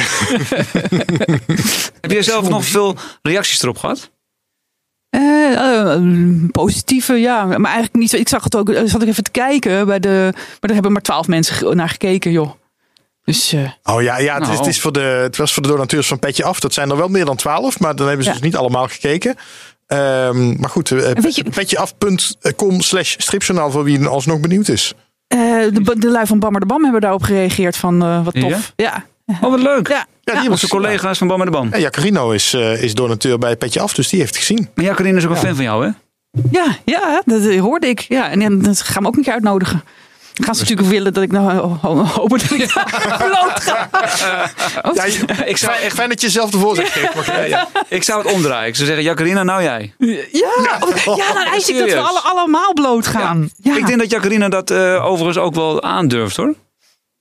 [SPEAKER 2] Heb jij zelf nog veel reacties erop gehad?
[SPEAKER 4] Eh, eh, positieve, ja. Maar eigenlijk niet. zo- Ik zag het ook, eh, zat ik even te kijken bij de. Maar daar hebben maar twaalf mensen ge- naar gekeken, joh. Dus eh,
[SPEAKER 3] Oh ja, ja het, is,
[SPEAKER 2] Nou.
[SPEAKER 3] het, is voor de, het was voor de donateurs van Petje Af. Dat zijn er wel meer dan twaalf, maar dan hebben ze
[SPEAKER 4] Ja.
[SPEAKER 3] dus niet allemaal gekeken. Ehm, maar goed, eh,
[SPEAKER 4] weet je-
[SPEAKER 3] petjeaf.com slash stripjournaal voor wie alsnog benieuwd is.
[SPEAKER 4] eh, de, de lui van Bammer de Bam hebben daarop gereageerd van eh, wat tof. Ja.
[SPEAKER 2] Oh, wat leuk.
[SPEAKER 4] Ja.
[SPEAKER 3] Ja, die
[SPEAKER 2] Onze collega's van Bam en de Bam.
[SPEAKER 3] Ja, Jacarino is, eh, is donateur bij Petje Af, dus die heeft het gezien.
[SPEAKER 2] Maar Jacqueline is ook een fan van jou, hè?
[SPEAKER 4] Ja, ja, dat eh, hoorde ik. Ja, en, en dat gaan we ook een keer uitnodigen. Dan gaan ze natuurlijk willen dat ik nou ho- ho- hopen dat ik daar bloot ga. Oh,
[SPEAKER 3] Ja, je-
[SPEAKER 2] [laughs] Ik zou,
[SPEAKER 3] Fijn-
[SPEAKER 2] echt,
[SPEAKER 3] Fijn dat je zelf de
[SPEAKER 4] [laughs]
[SPEAKER 3] voorzet geeft. Margreet.
[SPEAKER 2] ik zou het omdraaien. Ik zou zeggen, Jacqueline, nou jij.
[SPEAKER 4] ja, oh, ja, dan eis ik dat we
[SPEAKER 2] Serieus?
[SPEAKER 4] alle, allemaal bloot gaan. Ja,
[SPEAKER 2] Ik denk dat Jacqueline dat eh, overigens ook wel aandurft, hoor.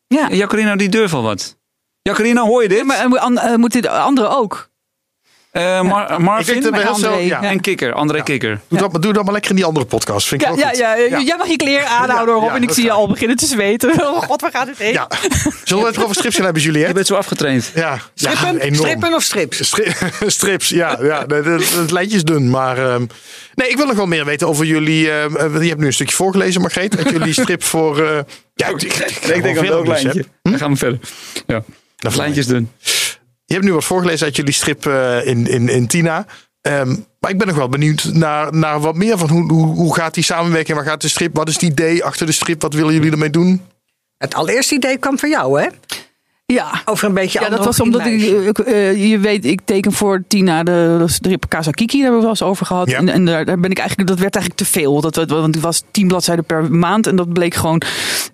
[SPEAKER 4] ja.
[SPEAKER 2] Jacqueline, die durft wel wat. Jacqueline, hoor je dit?
[SPEAKER 4] Maar eh, moet- an- eh, moeten de anderen ook?
[SPEAKER 2] Eh, Mar-
[SPEAKER 3] Ik denk
[SPEAKER 2] Marvin
[SPEAKER 3] dat we heel
[SPEAKER 4] André.
[SPEAKER 3] snel... Ja.
[SPEAKER 2] en Kikker, André Kikker.
[SPEAKER 3] Doe, dat maar, doe dat maar lekker in die andere podcast. Vind ik
[SPEAKER 4] Ja,
[SPEAKER 3] wel
[SPEAKER 4] ja,
[SPEAKER 3] goed.
[SPEAKER 4] ja, eh, jij mag je kleren aanhouden,
[SPEAKER 3] Ja,
[SPEAKER 4] Rob.
[SPEAKER 3] ja,
[SPEAKER 4] en ik
[SPEAKER 3] dat
[SPEAKER 4] zie je
[SPEAKER 3] ga ik.
[SPEAKER 4] al beginnen te zweten. Oh god, waar gaat dit heen?
[SPEAKER 3] Ja. Zullen we het over strips gaan hebben,
[SPEAKER 2] Je
[SPEAKER 3] Juliette?
[SPEAKER 2] bent zo afgetraind.
[SPEAKER 3] Ja, ja,
[SPEAKER 1] Strippen? Strippen of strips?
[SPEAKER 3] Stri- [laughs] Strips, ja. ja de- de- de- het lijntje is dun. Maar ehm, nee, ik wil nog wel meer weten over jullie... ehm, eh, je hebt nu een stukje voorgelezen, Margreet. En jullie strip voor... eh, ja, ik,
[SPEAKER 2] [laughs] Ik denk dat ook lijntje.
[SPEAKER 3] Je
[SPEAKER 2] Dan gaan we verder. Ja.
[SPEAKER 3] Dat is
[SPEAKER 2] Lijntjes doen.
[SPEAKER 3] hebt nu wat voorgelezen uit jullie strip eh, in, in, in Tina. Ehm, maar ik ben nog wel benieuwd naar, naar wat meer. Van hoe, hoe, hoe gaat die samenwerking? Waar gaat de strip? Wat is het idee achter de strip? Wat willen jullie ermee doen?
[SPEAKER 1] Het allereerste idee kwam van jou, hè?
[SPEAKER 4] Ja.
[SPEAKER 1] Over een beetje
[SPEAKER 4] Ja, dat was
[SPEAKER 1] androgyne
[SPEAKER 4] omdat ik,
[SPEAKER 1] meisje.
[SPEAKER 4] ik, eh, je weet, ik teken voor Tina de strip Kazakiki, daar hebben we wel eens over gehad.
[SPEAKER 3] Ja.
[SPEAKER 4] En, en daar, daar ben ik eigenlijk, dat werd eigenlijk te veel. Dat, werd- want het was tien bladzijden per maand en dat bleek gewoon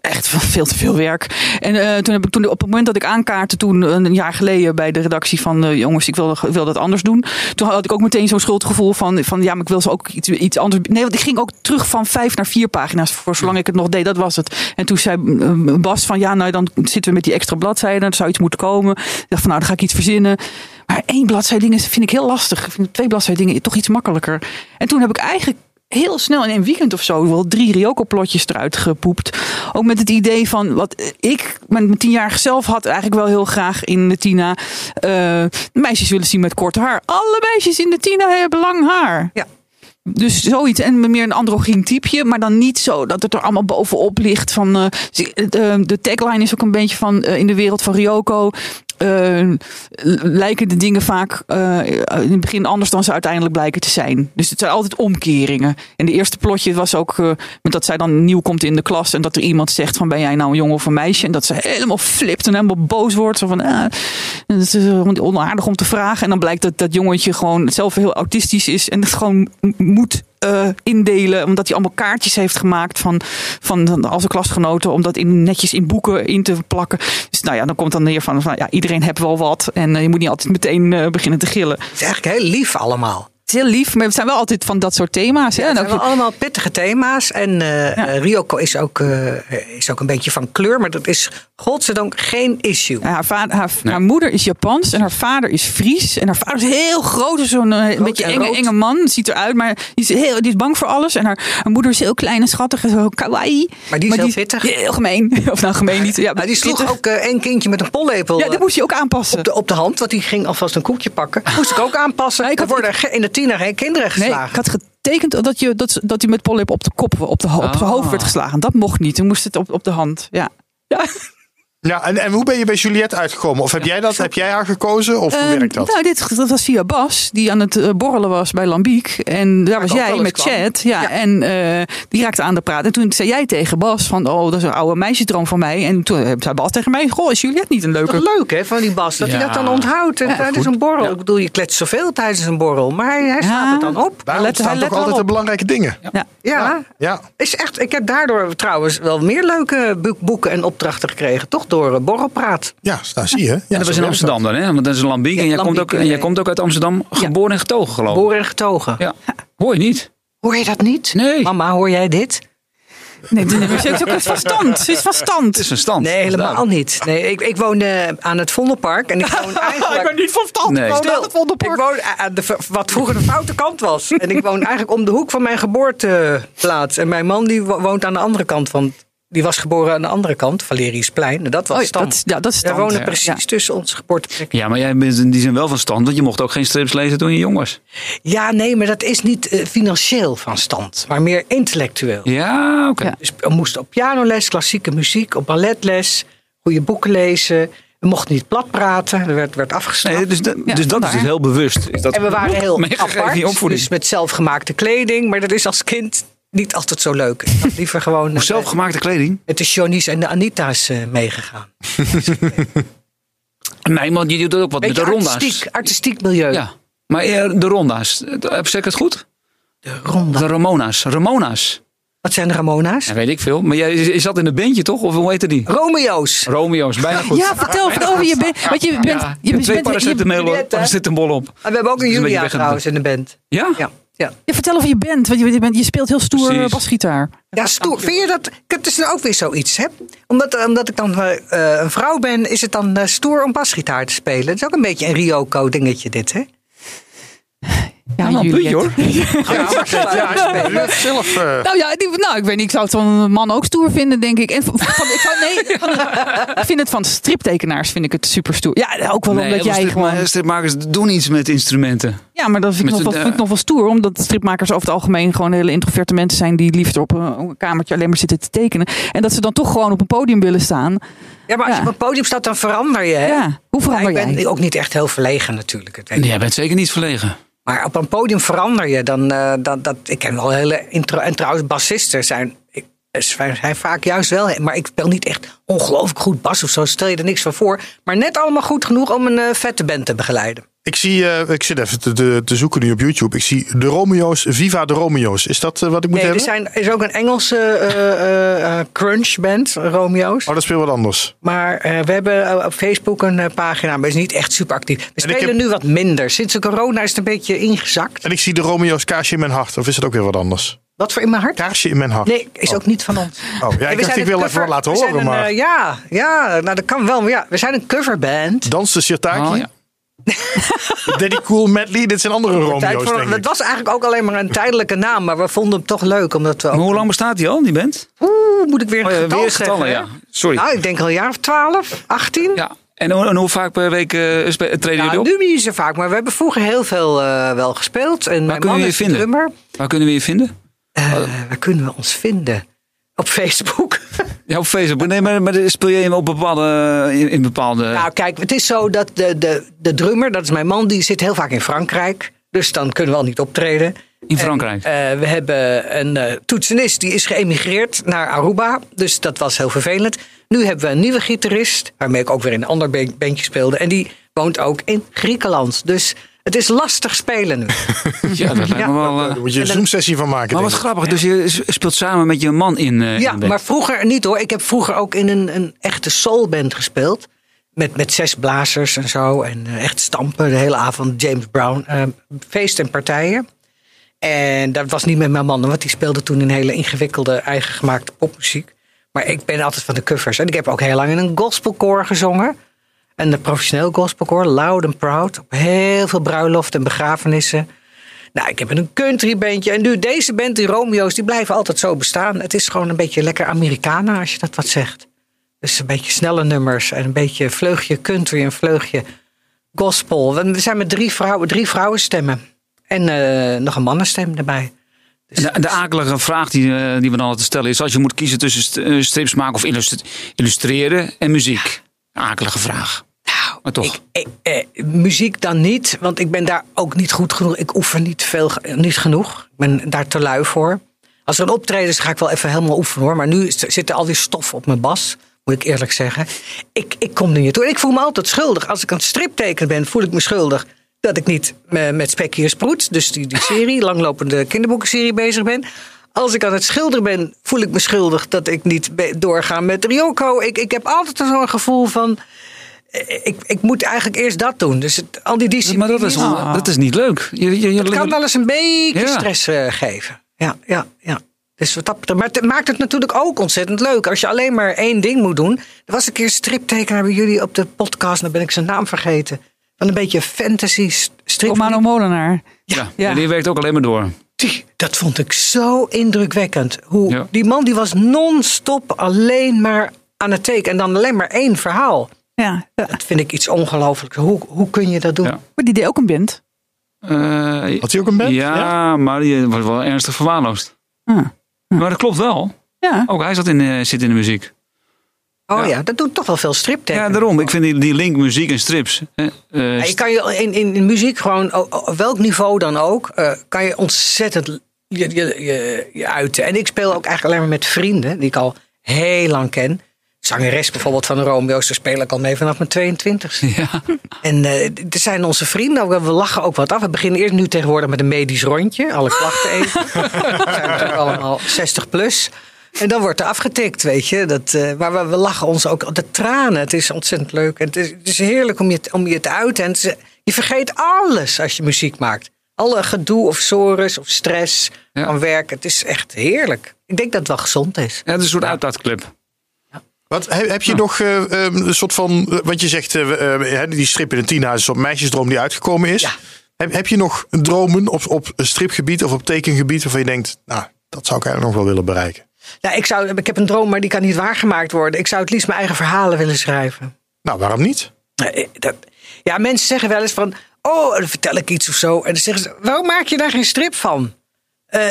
[SPEAKER 4] echt veel te veel werk. En eh, toen heb ik toen, op het moment dat ik aankaartte, toen een jaar geleden bij de redactie van eh, jongens, ik wil, ik wil dat anders doen. Toen had ik ook meteen zo'n schuldgevoel van, van ja, maar ik wil ze ook iets, iets anders. Nee, want ik ging ook terug van vijf naar vier pagina's voor zolang ik het nog deed. Dat was het. En toen zei eh, Bas van ja, nou dan zitten we met die extra bladzijden. Er zou iets moeten komen. Ik dacht van nou, dan ga ik iets verzinnen. Maar één bladzijde dingen vind ik heel lastig. Ik vind twee bladzijde dingen toch iets makkelijker. En toen heb ik eigenlijk heel snel in een weekend of zo wel drie Ryoko-plotjes eruit gepoept. Ook met het idee van wat eh, ik, mijn, mijn tienjarige zelf had eigenlijk wel heel graag in de Tina eh, meisjes willen zien met kort haar. Alle meisjes in de Tina hebben lang haar.
[SPEAKER 1] Ja.
[SPEAKER 4] Dus zoiets. En meer een androgyn typeje. Maar dan niet zo dat het er allemaal bovenop ligt. Van, eh, zie- het, eh, de tagline is ook een beetje van eh, in de wereld van Ryoko. eh, lijken de dingen vaak eh, in het begin anders dan ze uiteindelijk blijken te zijn. Dus het zijn altijd omkeringen. En de eerste plotje was ook eh, met dat zij dan nieuw komt in de klas. En dat er iemand zegt van ben jij nou een jongen of een meisje? En dat ze helemaal flipt en helemaal boos wordt. Zo van ah, het is eh, onaardig om te vragen. En dan blijkt dat dat jongetje gewoon zelf heel autistisch is. En het gewoon m- moet eh, indelen. Omdat hij allemaal kaartjes heeft gemaakt van, van dan al zijn klasgenoten. Om dat in, netjes in boeken in te plakken. Dus nou ja, dan komt dan neer van, van ja, iedereen heeft wel wat. En eh, je moet niet altijd meteen eh, beginnen te gillen.
[SPEAKER 1] Het is eigenlijk heel lief allemaal.
[SPEAKER 4] Het is heel lief, maar we zijn wel altijd van dat soort thema's. Hè?
[SPEAKER 1] Ja,
[SPEAKER 4] En
[SPEAKER 1] het
[SPEAKER 4] ook-
[SPEAKER 1] zijn wel allemaal pittige thema's. En eh, eh, Ryoko is ook, eh, is ook een beetje van kleur, maar dat is godzijdank geen issue.
[SPEAKER 4] Ja, Haar, vader, haar, haar moeder is Japans en haar vader is Fries. En haar vader is heel groot, zo'n eh, een beetje
[SPEAKER 1] en
[SPEAKER 4] enge,
[SPEAKER 1] rood.
[SPEAKER 4] enge man. Ziet eruit, maar die is, heel, die is bang voor alles. En haar, haar moeder is heel klein en schattig en zo kawaii.
[SPEAKER 1] Maar die is heel pittig.
[SPEAKER 4] Heel gemeen. [laughs] Of nou, gemeen niet. Ja,
[SPEAKER 1] Maar die sloeg
[SPEAKER 4] pittig.
[SPEAKER 1] ook eh, één kindje met een pollepel
[SPEAKER 4] Ja, dat
[SPEAKER 1] eh,
[SPEAKER 4] moest je ook aanpassen.
[SPEAKER 1] op, de, op de hand, want die ging alvast een koekje pakken. Moest ik ook aanpassen.
[SPEAKER 4] Nee, ik
[SPEAKER 1] Er
[SPEAKER 4] had-
[SPEAKER 1] worden ge- in de gezien haar geen kinderen
[SPEAKER 4] Nee,
[SPEAKER 1] geslagen.
[SPEAKER 4] ik had getekend dat, je, dat, ze- dat hij met Pollip op de kop, op, de, ho- op
[SPEAKER 2] Ah.
[SPEAKER 4] zijn hoofd werd geslagen. Dat mocht niet. Toen moest het op, op de hand. Ja. ja.
[SPEAKER 3] Ja, en, en hoe ben je bij Juliette uitgekomen? Of heb jij dat? Heb jij haar gekozen? Of hoe
[SPEAKER 4] Ehm,
[SPEAKER 3] werkt dat?
[SPEAKER 4] Nou, dit dat was via Bas, die aan het eh, borrelen was bij Lambiek. En daar was
[SPEAKER 1] ook wel
[SPEAKER 4] jij
[SPEAKER 1] eens
[SPEAKER 4] met
[SPEAKER 1] kwam.
[SPEAKER 4] Chad. Ja, En eh, die raakte aan de praat. En toen zei jij tegen Bas van, oh, dat is een oude meisjesdroom van mij. En toen eh, zei Bas tegen mij, goh, is Juliette niet een leuke...
[SPEAKER 1] Dat [laughs] is leuk hè, van die Bas, dat
[SPEAKER 2] Ja.
[SPEAKER 1] hij dat dan onthoudt en
[SPEAKER 2] Ja,
[SPEAKER 1] tijdens
[SPEAKER 2] goed.
[SPEAKER 1] een borrel.
[SPEAKER 2] Ja.
[SPEAKER 1] Ik bedoel, je kletst zoveel tijdens een borrel, maar hij, hij slaat
[SPEAKER 4] Ja.
[SPEAKER 1] het dan op.
[SPEAKER 3] Daarom
[SPEAKER 4] let-
[SPEAKER 3] staan
[SPEAKER 4] hij
[SPEAKER 3] toch
[SPEAKER 4] let wel
[SPEAKER 3] altijd de
[SPEAKER 4] op.
[SPEAKER 3] belangrijke dingen.
[SPEAKER 4] Ja.
[SPEAKER 1] Ja,
[SPEAKER 3] Ja.
[SPEAKER 1] Is echt, ik heb daardoor trouwens wel meer leuke boek- boeken en opdrachten gekregen. Toch door eh, borrelpraat.
[SPEAKER 3] Ja, nou zie je. Ja,
[SPEAKER 2] dat
[SPEAKER 3] zo
[SPEAKER 2] was in
[SPEAKER 3] werkt
[SPEAKER 2] Amsterdam dan, hè? Want dat is een Lambiek. en, jij
[SPEAKER 1] Lambiek,
[SPEAKER 2] komt ook, en jij
[SPEAKER 1] eh,
[SPEAKER 2] komt ook uit Amsterdam, geboren en getogen,
[SPEAKER 4] Oh.
[SPEAKER 2] geloof ik.
[SPEAKER 1] Boren en getogen.
[SPEAKER 2] Ja. Hoor je niet?
[SPEAKER 1] Hoor je dat niet?
[SPEAKER 2] Nee.
[SPEAKER 1] Mama, hoor jij dit?
[SPEAKER 4] Nee, ze heeft ook iets van stand. Ze is van stand.
[SPEAKER 2] Het is een stand.
[SPEAKER 1] Nee, helemaal niet. Nee, ik, ik woon eh, aan het Vondelpark en ik
[SPEAKER 4] [laughs]
[SPEAKER 1] woon eigenlijk...
[SPEAKER 4] Ah, niet van stand.
[SPEAKER 2] Nee.
[SPEAKER 4] gewoon
[SPEAKER 1] Stil.
[SPEAKER 4] aan het Vondelpark.
[SPEAKER 1] Ik woon a- aan de, v- wat vroeger de foute kant was. [laughs] En ik woon eigenlijk om de hoek van mijn geboorteplaats. En mijn man die wo- woont aan de andere kant van... Die was geboren aan de andere kant, Valeriusplein. En dat was
[SPEAKER 4] Oh ja,
[SPEAKER 1] stand.
[SPEAKER 4] dat is- ja, dat is
[SPEAKER 1] Wij
[SPEAKER 4] stand,
[SPEAKER 1] wonen
[SPEAKER 4] ja.
[SPEAKER 1] precies
[SPEAKER 4] Ja.
[SPEAKER 1] tussen onze geboorteplek.
[SPEAKER 2] Ja, maar jij bent in die zijn wel van stand, want je mocht ook geen strips lezen toen je jong was.
[SPEAKER 1] Ja, nee, maar dat is niet eh, financieel van stand. Maar meer intellectueel.
[SPEAKER 2] Ja, oké.
[SPEAKER 4] Ja.
[SPEAKER 1] Dus we moesten op pianoles, klassieke muziek, op balletles, goede boeken lezen. We mochten niet plat praten, er werd, werd afgestraft.
[SPEAKER 2] Nee, dus dat, dus
[SPEAKER 4] Ja,
[SPEAKER 2] dat is
[SPEAKER 4] vandaar.
[SPEAKER 2] dus heel bewust. Is dat
[SPEAKER 1] en we waren heel
[SPEAKER 2] meegegeven in je
[SPEAKER 1] apart,
[SPEAKER 2] opvoeding.
[SPEAKER 1] dus met zelfgemaakte kleding. Maar dat is als kind niet altijd zo leuk. Ik had liever gewoon
[SPEAKER 2] Of
[SPEAKER 1] met,
[SPEAKER 2] zelfgemaakte kleding?
[SPEAKER 1] met de Johnny's en de Anita's eh, meegegaan.
[SPEAKER 2] Nee, want je doet dat ook wat met de
[SPEAKER 1] Beetje
[SPEAKER 2] ronda's.
[SPEAKER 1] artistiek, artistiek milieu.
[SPEAKER 2] Ja, maar eh, de ronda's. Eh, Zeg ik het goed?
[SPEAKER 1] De
[SPEAKER 2] De
[SPEAKER 1] ronda.
[SPEAKER 2] Ramona's. Ramona's.
[SPEAKER 1] Wat zijn de Ramona's?
[SPEAKER 2] Ja, weet ik veel. Maar jij je zat in een bandje toch? Of hoe heette die?
[SPEAKER 1] Romeo's.
[SPEAKER 2] Romeo's, bijna goed.
[SPEAKER 4] Ja, vertel, vertel wie je bent. Want je bent...
[SPEAKER 2] Ja,
[SPEAKER 4] je
[SPEAKER 2] je
[SPEAKER 4] bent-
[SPEAKER 2] twee
[SPEAKER 4] je bent- je-
[SPEAKER 2] paracetamol
[SPEAKER 1] Juliette, hè?
[SPEAKER 2] paracetamol op.
[SPEAKER 1] En Ah, we hebben ook een
[SPEAKER 2] Dat is een beetje
[SPEAKER 1] Julia
[SPEAKER 2] weg-
[SPEAKER 1] trouwens in de band.
[SPEAKER 2] Ja?
[SPEAKER 1] Ja, ja.
[SPEAKER 4] je vertel wie je bent. Want je, je, bent, je speelt heel stoer
[SPEAKER 2] Precies.
[SPEAKER 4] eh, basgitaar.
[SPEAKER 1] Ja, stoer. Vind je dat? Ik heb dus ook weer zoiets, hè? Omdat, eh, omdat ik dan eh, eh, een vrouw ben, is het dan eh, stoer om basgitaar te spelen. Het is ook een beetje een Ryoko-dingetje, dit, hè?
[SPEAKER 4] Ja,
[SPEAKER 2] Nou, een
[SPEAKER 4] Juliette.
[SPEAKER 2] puntje, hoor.
[SPEAKER 1] Ja,
[SPEAKER 3] dat. Ja, zelf. eh,
[SPEAKER 4] Nou ja, die- nou, ik weet niet. Ik zou het van een man ook stoer vinden, denk ik. En van, van- ik,
[SPEAKER 2] [laughs]
[SPEAKER 4] zou, nee, van- ik vind het van striptekenaars vind ik het super stoer. Ja, ook wel omdat jij
[SPEAKER 2] stripma-
[SPEAKER 4] gewoon...
[SPEAKER 2] stripmakers doen iets met instrumenten.
[SPEAKER 4] Ja, maar dat vind ik,
[SPEAKER 2] Met
[SPEAKER 4] nog, wel-
[SPEAKER 2] een,
[SPEAKER 4] vind ik
[SPEAKER 2] eh,
[SPEAKER 4] nog wel stoer. Omdat stripmakers over het algemeen gewoon hele introverte mensen zijn... die liefst op een, op een kamertje alleen maar zitten te tekenen. En dat ze dan toch gewoon op een podium willen staan.
[SPEAKER 1] Ja, maar als je op
[SPEAKER 4] Ja.
[SPEAKER 1] het podium staat, dan verander je, hè?
[SPEAKER 4] Ja,
[SPEAKER 1] Ja,
[SPEAKER 4] hoe verander
[SPEAKER 1] ik ben
[SPEAKER 4] jij?
[SPEAKER 1] ook niet echt heel verlegen natuurlijk. dat weet ik.
[SPEAKER 2] Jij bent zeker niet verlegen.
[SPEAKER 1] Maar op een podium verander je dan. eh, dat, dat, ik ken wel hele. Intro, en trouwens, bassisten zijn, ik- eh, zijn, zijn vaak juist wel. Maar ik speel niet echt ongelooflijk goed bas of zo. Stel je er niks van voor. Maar net allemaal goed genoeg om een eh, vette band te begeleiden.
[SPEAKER 3] Ik zie, eh, ik zit even te, te, te zoeken nu op YouTube. Ik zie de Romeo's, Viva de Romeo's. Is dat eh, wat ik moet
[SPEAKER 1] Nee, dus er
[SPEAKER 3] hebben?
[SPEAKER 1] zijn, er is ook een Engelse eh, eh, crunch band, Romeo's.
[SPEAKER 3] Oh, dat speelt wat anders.
[SPEAKER 1] Maar eh, we hebben eh, op Facebook een eh, pagina, maar is niet echt super actief. We
[SPEAKER 3] En ik
[SPEAKER 1] spelen
[SPEAKER 3] heb-
[SPEAKER 1] nu wat minder. Sinds de corona is het een beetje ingezakt.
[SPEAKER 3] En ik zie de Romeo's Kaarsje in mijn hart. Of is dat ook weer wat anders?
[SPEAKER 1] Wat voor in mijn hart?
[SPEAKER 3] Kaarsje in mijn hart.
[SPEAKER 1] Nee, is ook niet van ons.
[SPEAKER 3] Oh, ja,
[SPEAKER 1] En
[SPEAKER 3] ik
[SPEAKER 1] we
[SPEAKER 3] dacht,
[SPEAKER 1] zijn
[SPEAKER 3] ik
[SPEAKER 1] een
[SPEAKER 3] wil
[SPEAKER 1] cover-
[SPEAKER 3] even wat laten
[SPEAKER 1] we zijn
[SPEAKER 3] horen,
[SPEAKER 1] een,
[SPEAKER 3] maar
[SPEAKER 1] eh, ja, ja, nou dat kan wel. Maar ja, we zijn een coverband.
[SPEAKER 3] dans de Sirtaki,
[SPEAKER 2] Oh, ja.
[SPEAKER 3] Daddy Cool Medley. Dit zijn andere
[SPEAKER 1] Tijd
[SPEAKER 3] Romeo's,
[SPEAKER 1] voor-
[SPEAKER 3] denk
[SPEAKER 1] dat
[SPEAKER 3] ik.
[SPEAKER 1] was eigenlijk ook alleen maar een tijdelijke naam, maar we vonden hem toch leuk. Omdat we
[SPEAKER 2] Maar
[SPEAKER 1] ook,
[SPEAKER 2] hoe lang bestaat die al, die band?
[SPEAKER 1] oeh, moet ik weer een
[SPEAKER 2] Oh, ja,
[SPEAKER 1] getal
[SPEAKER 2] weer
[SPEAKER 1] zeggen,
[SPEAKER 2] getallen,
[SPEAKER 1] hè?
[SPEAKER 2] ja. Sorry.
[SPEAKER 1] Nou, ik denk al een jaar of 12, 18.
[SPEAKER 2] Ja. En, hoe- en hoe vaak per week eh, spe- treden
[SPEAKER 1] Ja,
[SPEAKER 2] jullie op?
[SPEAKER 1] Nou, nu niet zo vaak, maar we hebben vroeger heel veel eh, wel gespeeld. En mijn
[SPEAKER 2] kunnen
[SPEAKER 1] man
[SPEAKER 2] we je
[SPEAKER 1] is de
[SPEAKER 2] vinden?
[SPEAKER 1] drummer.
[SPEAKER 2] Waar kunnen we je vinden?
[SPEAKER 1] Eh, waar kunnen we ons vinden? Op
[SPEAKER 2] [laughs]
[SPEAKER 1] Facebook.
[SPEAKER 2] Ja, op Facebook. Nee, maar, maar speel je in, op bepaalde, in, in bepaalde...
[SPEAKER 1] Nou, kijk, het is zo dat de, de, de drummer, dat is mijn man, die zit heel vaak in Frankrijk. Dus dan kunnen we al niet optreden.
[SPEAKER 2] in Frankrijk.
[SPEAKER 1] Eh, we hebben een eh, toetsenist die is geëmigreerd naar Aruba. Dus dat was heel vervelend. Nu hebben we een nieuwe gitarist, waarmee ik ook weer in een ander ban- bandje speelde. En die woont ook in Griekenland. Dus het is lastig spelen nu.
[SPEAKER 2] ja, dat lijkt
[SPEAKER 1] ja.
[SPEAKER 2] me wel... eh,
[SPEAKER 3] Daar moet je een
[SPEAKER 1] En dan-
[SPEAKER 3] Zoom-sessie van maken.
[SPEAKER 2] maar
[SPEAKER 3] denk
[SPEAKER 2] wat
[SPEAKER 3] ik.
[SPEAKER 2] grappig, dus je s- speelt samen met je man in, eh, in
[SPEAKER 1] Ja,
[SPEAKER 2] een band.
[SPEAKER 1] maar vroeger niet hoor. Ik heb vroeger ook in een, een echte soulband gespeeld. Met, met zes blazers en zo. En eh, echt stampen de hele avond. James Brown. eh, feest en partijen. En dat was niet met mijn man. Want die speelde toen een hele ingewikkelde eigen gemaakte popmuziek. Maar ik ben altijd van de covers. En ik heb ook heel lang in een gospelkoor gezongen. En een professioneel gospelkoor. Loud and Proud. Op heel veel bruiloften en begrafenissen. Nou, ik heb een countrybandje. En nu deze band, die Romeo's, die blijven altijd zo bestaan. Het is gewoon een beetje lekker Americana, als je dat wat zegt. Dus een beetje snelle nummers en een beetje vleugje country en vleugje gospel. Want We zijn met drie vrouwen, drie vrouwenstemmen. En eh, nog een mannenstem erbij.
[SPEAKER 2] De, de akelige vraag die, eh, die we dan altijd stellen is: als je moet kiezen tussen st- eh, strips maken of illustr- illustreren en muziek. Akelige vraag.
[SPEAKER 1] Nou,
[SPEAKER 2] Maar toch.
[SPEAKER 1] ik- ik- eh, muziek dan niet, want ik ben daar ook niet goed genoeg. Ik oefen niet, veel, eh, niet genoeg. Ik ben daar te lui voor. Als er een optreden is, ga ik wel even helemaal oefenen hoor. Maar nu is- zit er al die stof op mijn bas, moet ik eerlijk zeggen. Ik, ik kom er niet toe. En ik voel me altijd schuldig. Als ik aan het stripteken ben, voel ik me schuldig. Dat ik niet eh, met Spekkie en Sproet, dus die, die serie, langlopende kinderboekenserie bezig ben. Als ik aan het schilderen ben, voel ik me schuldig dat ik niet be- doorga met Ryoko. Ik, ik heb altijd zo'n gevoel van, ik, ik moet eigenlijk eerst dat doen. Dus het, al die
[SPEAKER 2] Maar
[SPEAKER 1] discipline.
[SPEAKER 2] dat is, dat is niet leuk. Je, je, je-
[SPEAKER 1] kan wel eens een beetje
[SPEAKER 2] Ja.
[SPEAKER 1] stress eh, geven. Ja, ja, ja. Dus wat dat betreft. Maar het maakt het natuurlijk ook ontzettend leuk. Als je alleen maar één ding moet doen. Er was een keer een striptekenaar bij jullie op de podcast. Dan ben ik zijn naam vergeten. Van een beetje fantasy st- strip.
[SPEAKER 4] Romano Molenaar.
[SPEAKER 2] ja.
[SPEAKER 4] Ja.
[SPEAKER 2] Ja, die werkt ook alleen maar door.
[SPEAKER 1] Die- Dat vond ik zo indrukwekkend. Hoe
[SPEAKER 2] Ja.
[SPEAKER 1] Die man die was non-stop alleen maar aan het tekenen. En dan alleen maar één verhaal.
[SPEAKER 4] Ja. ja.
[SPEAKER 1] Dat vind ik iets ongelooflijks. Hoe, hoe kun je dat doen?
[SPEAKER 2] Ja.
[SPEAKER 4] Maar die deed ook een band.
[SPEAKER 2] Eh,
[SPEAKER 3] Had hij ook een band?
[SPEAKER 2] Ja, maar die wordt wel ernstig verwaarloosd.
[SPEAKER 4] Ah,
[SPEAKER 1] Hm.
[SPEAKER 2] Maar dat klopt wel.
[SPEAKER 4] Ja.
[SPEAKER 2] Ook hij zat in, eh, zit in de muziek.
[SPEAKER 1] Oh
[SPEAKER 2] Ja.
[SPEAKER 1] ja. dat doen toch wel veel striptekenaars.
[SPEAKER 2] Ja, daarom. Ik vind die, die link muziek en strips. hè, eh,
[SPEAKER 1] Ja, je kan je in, in, in muziek gewoon, o- o- welk niveau dan ook, eh, kan je ontzettend l- je, je, je, je uiten. En ik speel ook eigenlijk alleen maar met vrienden die ik al heel lang ken. Zangeres bijvoorbeeld van de Romeo's, daar speel ik al mee vanaf mijn 22e.
[SPEAKER 2] [laughs] ja.
[SPEAKER 1] En eh, d- dit zijn onze vrienden, ook, we lachen ook wat af. We beginnen eerst nu tegenwoordig met een medisch rondje, alle klachten even. We zijn natuurlijk allemaal 60 plus. En dan wordt er afgetikt, weet je. Dat, eh, maar we, we lachen ons ook. De tranen, het is ontzettend leuk. En het, is, het is heerlijk om je, te- om je te uiten. En het is- je vergeet alles als je muziek maakt. Alle gedoe of sores of stress
[SPEAKER 2] Ja.
[SPEAKER 1] van werk. Het is echt heerlijk. Ik denk dat het wel gezond is.
[SPEAKER 2] Ja, het is een soort uitlaatclip.
[SPEAKER 3] Wat, he- heb je nog eh, ehm, een soort van. eh, Want je zegt, eh, we, eh, hè, die strip in het tienhuis, een soort meisjesdroom die uitgekomen is.
[SPEAKER 1] Ja.
[SPEAKER 3] Heb, heb je nog dromen op, op stripgebied of op tekengebied waarvan je denkt, nou, dat zou ik eigenlijk nog wel willen bereiken?
[SPEAKER 1] Nou, ik, zou, ik heb een droom, maar die kan niet waargemaakt worden. Ik zou het liefst mijn eigen verhalen willen schrijven.
[SPEAKER 3] Nou, waarom niet?
[SPEAKER 1] Eh, dat- ja, mensen zeggen wel eens van. Oh, dan vertel ik iets of zo. En dan zeggen ze: waarom maak je daar geen strip van? Eh,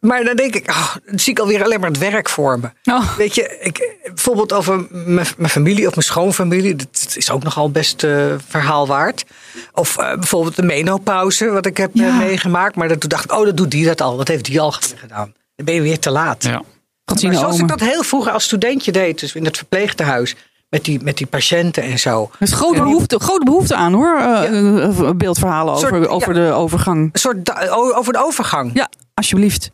[SPEAKER 1] maar dan denk ik: oh, dan zie ik alweer alleen maar het werk voor me.
[SPEAKER 4] Oh.
[SPEAKER 1] Weet je, ik, eh, bijvoorbeeld over mijn mijn familie of mijn schoonfamilie. Dat is ook nogal best eh, verhaal waard. Of eh, bijvoorbeeld de menopauze, wat ik heb eh,
[SPEAKER 4] Ja.
[SPEAKER 1] meegemaakt. Maar dat- toen dacht ik: oh, dat doet die dat al. Dat heeft die al gedaan. Dan ben je weer te laat.
[SPEAKER 2] Ja.
[SPEAKER 4] Francine
[SPEAKER 1] Maar zoals
[SPEAKER 4] Omen.
[SPEAKER 1] ik dat heel vroeger als studentje deed, dus in het verpleegtehuis. Met die, met die patiënten en zo.
[SPEAKER 4] Er is grote behoefte, grote behoefte aan hoor. eh, eh, Beeldverhalen
[SPEAKER 1] Soort-
[SPEAKER 4] over, over de overgang.
[SPEAKER 1] Een soort da- o- over de overgang.
[SPEAKER 4] Ja, alsjeblieft.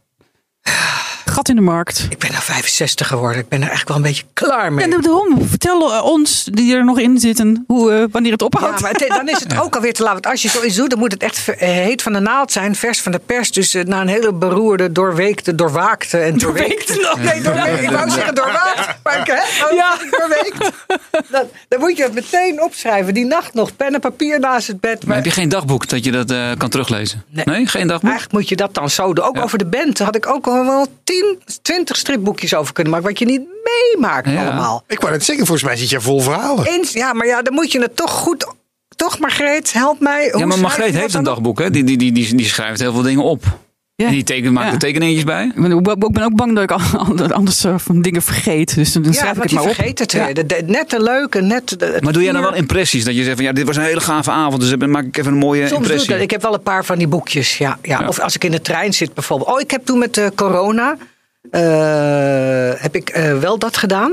[SPEAKER 4] Gat in de markt.
[SPEAKER 1] Ik ben nou 65 geworden. Ik ben er eigenlijk wel een beetje klaar mee.
[SPEAKER 4] En daarom, vertel eh, ons die er nog in zitten hoe, eh, wanneer het ophoudt.
[SPEAKER 1] Ja, maar het- eh, dan is het ook alweer te laat. Want als je zoiets doet, dan moet het echt ver- eh, heet van de naald zijn. Vers van de pers. Dus eh, na een hele beroerde, doorweekte, doorwaakte en doorweekte. Nee, doorweekt. Ik wou zeggen doorwaakt. Maar ik, hè, oh,
[SPEAKER 4] Ja.
[SPEAKER 1] doorweekt. Dan, dan moet je het meteen opschrijven. Die nacht nog. Pen en papier naast het bed.
[SPEAKER 2] Maar
[SPEAKER 1] Maar
[SPEAKER 2] heb je geen dagboek dat je dat eh, kan teruglezen?
[SPEAKER 1] Nee.
[SPEAKER 2] geen dagboek?
[SPEAKER 1] Eigenlijk moet je dat dan zo doen. Ook over de band had ik ook al wel 10, 20 stripboekjes over kunnen maken. Wat je niet meemaakt
[SPEAKER 2] Ja.
[SPEAKER 1] allemaal.
[SPEAKER 3] Ik wou net zeggen, volgens mij zit je vol verhalen.
[SPEAKER 1] Eens, ja, maar ja, dan moet je het toch goed. Toch, Margreet, help mij. Hoe
[SPEAKER 2] Ja,
[SPEAKER 1] schrijf
[SPEAKER 2] maar
[SPEAKER 1] je
[SPEAKER 2] Margreet
[SPEAKER 1] dat
[SPEAKER 2] heeft een
[SPEAKER 1] dan op?
[SPEAKER 2] dagboek. Hè? Die, die, die, die, die schrijft heel veel dingen op.
[SPEAKER 4] Ja.
[SPEAKER 2] En die teken, maakt
[SPEAKER 4] Ja.
[SPEAKER 2] er tekeningetjes bij.
[SPEAKER 4] Ik ben, ik ben ook bang dat ik al- al- anders eh, van dingen vergeet. Dus dan
[SPEAKER 1] Ja,
[SPEAKER 4] schrijf ik
[SPEAKER 1] want
[SPEAKER 4] het
[SPEAKER 1] je
[SPEAKER 4] maar op.
[SPEAKER 1] vergeet het.
[SPEAKER 4] Ja.
[SPEAKER 1] hè. De- de- Net de leuke, net. de- het
[SPEAKER 2] Maar doe jij dan
[SPEAKER 1] vier.
[SPEAKER 2] wel impressies? Dat je zegt van ja, dit was een hele gave avond. Dus dan maak ik even een mooie
[SPEAKER 1] Soms doe ik
[SPEAKER 2] impressie.
[SPEAKER 1] dat. Ik heb wel een paar van die boekjes. Ja, ja.
[SPEAKER 2] Ja.
[SPEAKER 1] Of als ik in de trein zit bijvoorbeeld. Oh, ik heb toen met eh, corona. eh, heb ik eh, wel dat gedaan.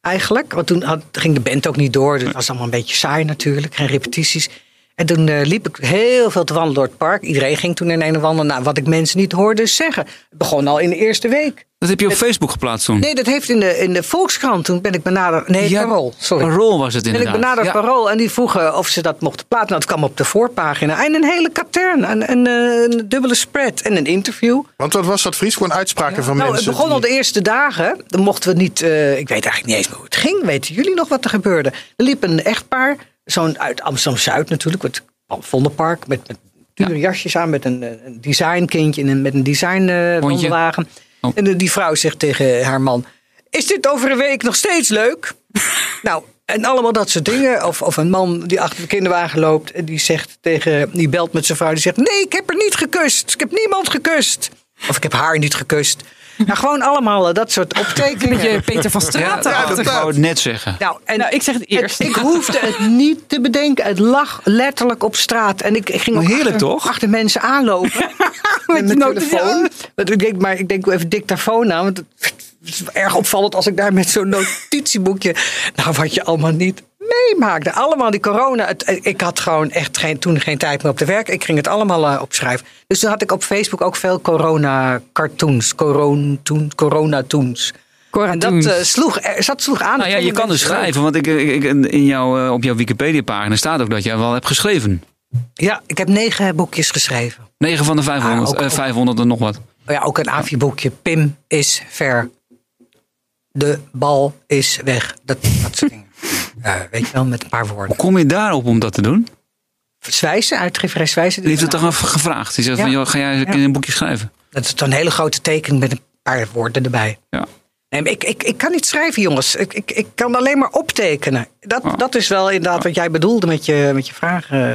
[SPEAKER 1] Eigenlijk. Want toen had, ging de band ook niet door. Dus het was allemaal een beetje saai natuurlijk. Geen repetities. En toen eh, liep ik heel veel te wandelen door het park. Iedereen ging toen in een of ander. Nou, wat ik mensen niet hoorde zeggen. Het begon al in de eerste week.
[SPEAKER 2] Dat heb je op Facebook geplaatst toen.
[SPEAKER 1] Nee, dat heeft in de, in de Volkskrant. Toen ben ik benaderd. Nee,
[SPEAKER 2] Ja,
[SPEAKER 1] Parool. Sorry.
[SPEAKER 2] Parool was het
[SPEAKER 1] Ben ik
[SPEAKER 2] inderdaad.
[SPEAKER 1] benaderd
[SPEAKER 2] Ja.
[SPEAKER 1] parool en die vroegen of ze dat mochten plaatsen. Nou, het kwam op de voorpagina. En een hele katern, en een, eh, een dubbele spread en een interview.
[SPEAKER 3] Want wat was dat, Fries? Gewoon uitspraken van
[SPEAKER 1] Nou, het
[SPEAKER 3] mensen.
[SPEAKER 1] begon al
[SPEAKER 3] die-
[SPEAKER 1] de eerste dagen. Dan mochten we niet, eh, ik weet eigenlijk niet eens meer hoe het ging. Weten jullie nog wat er gebeurde? Er liep een echtpaar, zo'n uit Amsterdam-Zuid natuurlijk, het Vondelpark, met, met dure jasjes aan, met een, eh, een designkindje en een- met een design eh, wandelwagen.
[SPEAKER 2] Oh.
[SPEAKER 1] En eh, die vrouw zegt tegen haar man, is dit over een week nog steeds leuk? nou, En allemaal dat soort dingen. Of, of een man die achter de kinderwagen loopt en die zegt tegen, die belt met zijn vrouw, die zegt: Nee, ik heb er niet gekust. Ik heb niemand gekust. Of ik heb haar niet gekust. Nou, gewoon allemaal eh, dat soort optekeningen.
[SPEAKER 4] Beetje Peter van Straten.
[SPEAKER 3] Ja,
[SPEAKER 2] dat
[SPEAKER 3] dat-
[SPEAKER 2] wou ik net zeggen.
[SPEAKER 1] Nou, en
[SPEAKER 4] Nou, ik zeg het eerst.
[SPEAKER 1] ik hoefde het niet te bedenken. Het lag letterlijk op straat. En ik, ik ging ook
[SPEAKER 2] Heerlijk,
[SPEAKER 1] achter,
[SPEAKER 2] toch?
[SPEAKER 1] achter mensen [laughs] aanlopen.
[SPEAKER 4] Met
[SPEAKER 1] met
[SPEAKER 4] je
[SPEAKER 1] mijn
[SPEAKER 4] noten-
[SPEAKER 1] telefoon. Want ik denk, maar ik denk doe even dictafoon aan. Want het is erg opvallend als ik daar met zo'n notitieboekje... Nou, wat je allemaal niet meemaakte. Allemaal die corona. het- ik had gewoon echt geen, toen geen tijd meer op te werken. Ik ging het allemaal eh, opschrijven. Dus toen had ik op Facebook ook veel corona-cartoons. Corona-toons. Corona-toons. En dat eh, sloeg, eh, zat, sloeg aan.
[SPEAKER 2] Nou ja, je kan dus schrijven, want ik, ik, ik- in jouw, eh, op jouw Wikipedia-pagina staat ook dat jij wel hebt geschreven.
[SPEAKER 1] Ja, ik heb negen boekjes geschreven.
[SPEAKER 2] 9 van de 500,
[SPEAKER 1] Ah, ook-
[SPEAKER 2] eh, 500 en nog wat.
[SPEAKER 1] Ja, ook een AVI-boekje. Pim is ver. De bal is weg. Dat, dat soort dingen. Eh, weet je wel, met een paar woorden.
[SPEAKER 2] Hoe kom je daarop om dat te doen?
[SPEAKER 1] Zwijzen, uitgeverij Zwijzen.
[SPEAKER 2] Die heeft het toch even gevraagd. Die zegt
[SPEAKER 1] Ja.
[SPEAKER 2] van, joh, ga jij eens
[SPEAKER 1] Ja.
[SPEAKER 2] een boekje schrijven?
[SPEAKER 1] Dat is dan een hele grote tekening met een paar woorden erbij.
[SPEAKER 2] Ja.
[SPEAKER 1] Nee, maar ik, ik, ik kan niet schrijven, jongens. Ik, ik, ik kan alleen maar optekenen. Dat,
[SPEAKER 2] Oh.
[SPEAKER 1] dat is wel inderdaad wat jij bedoelde met je, met je vraag. eh.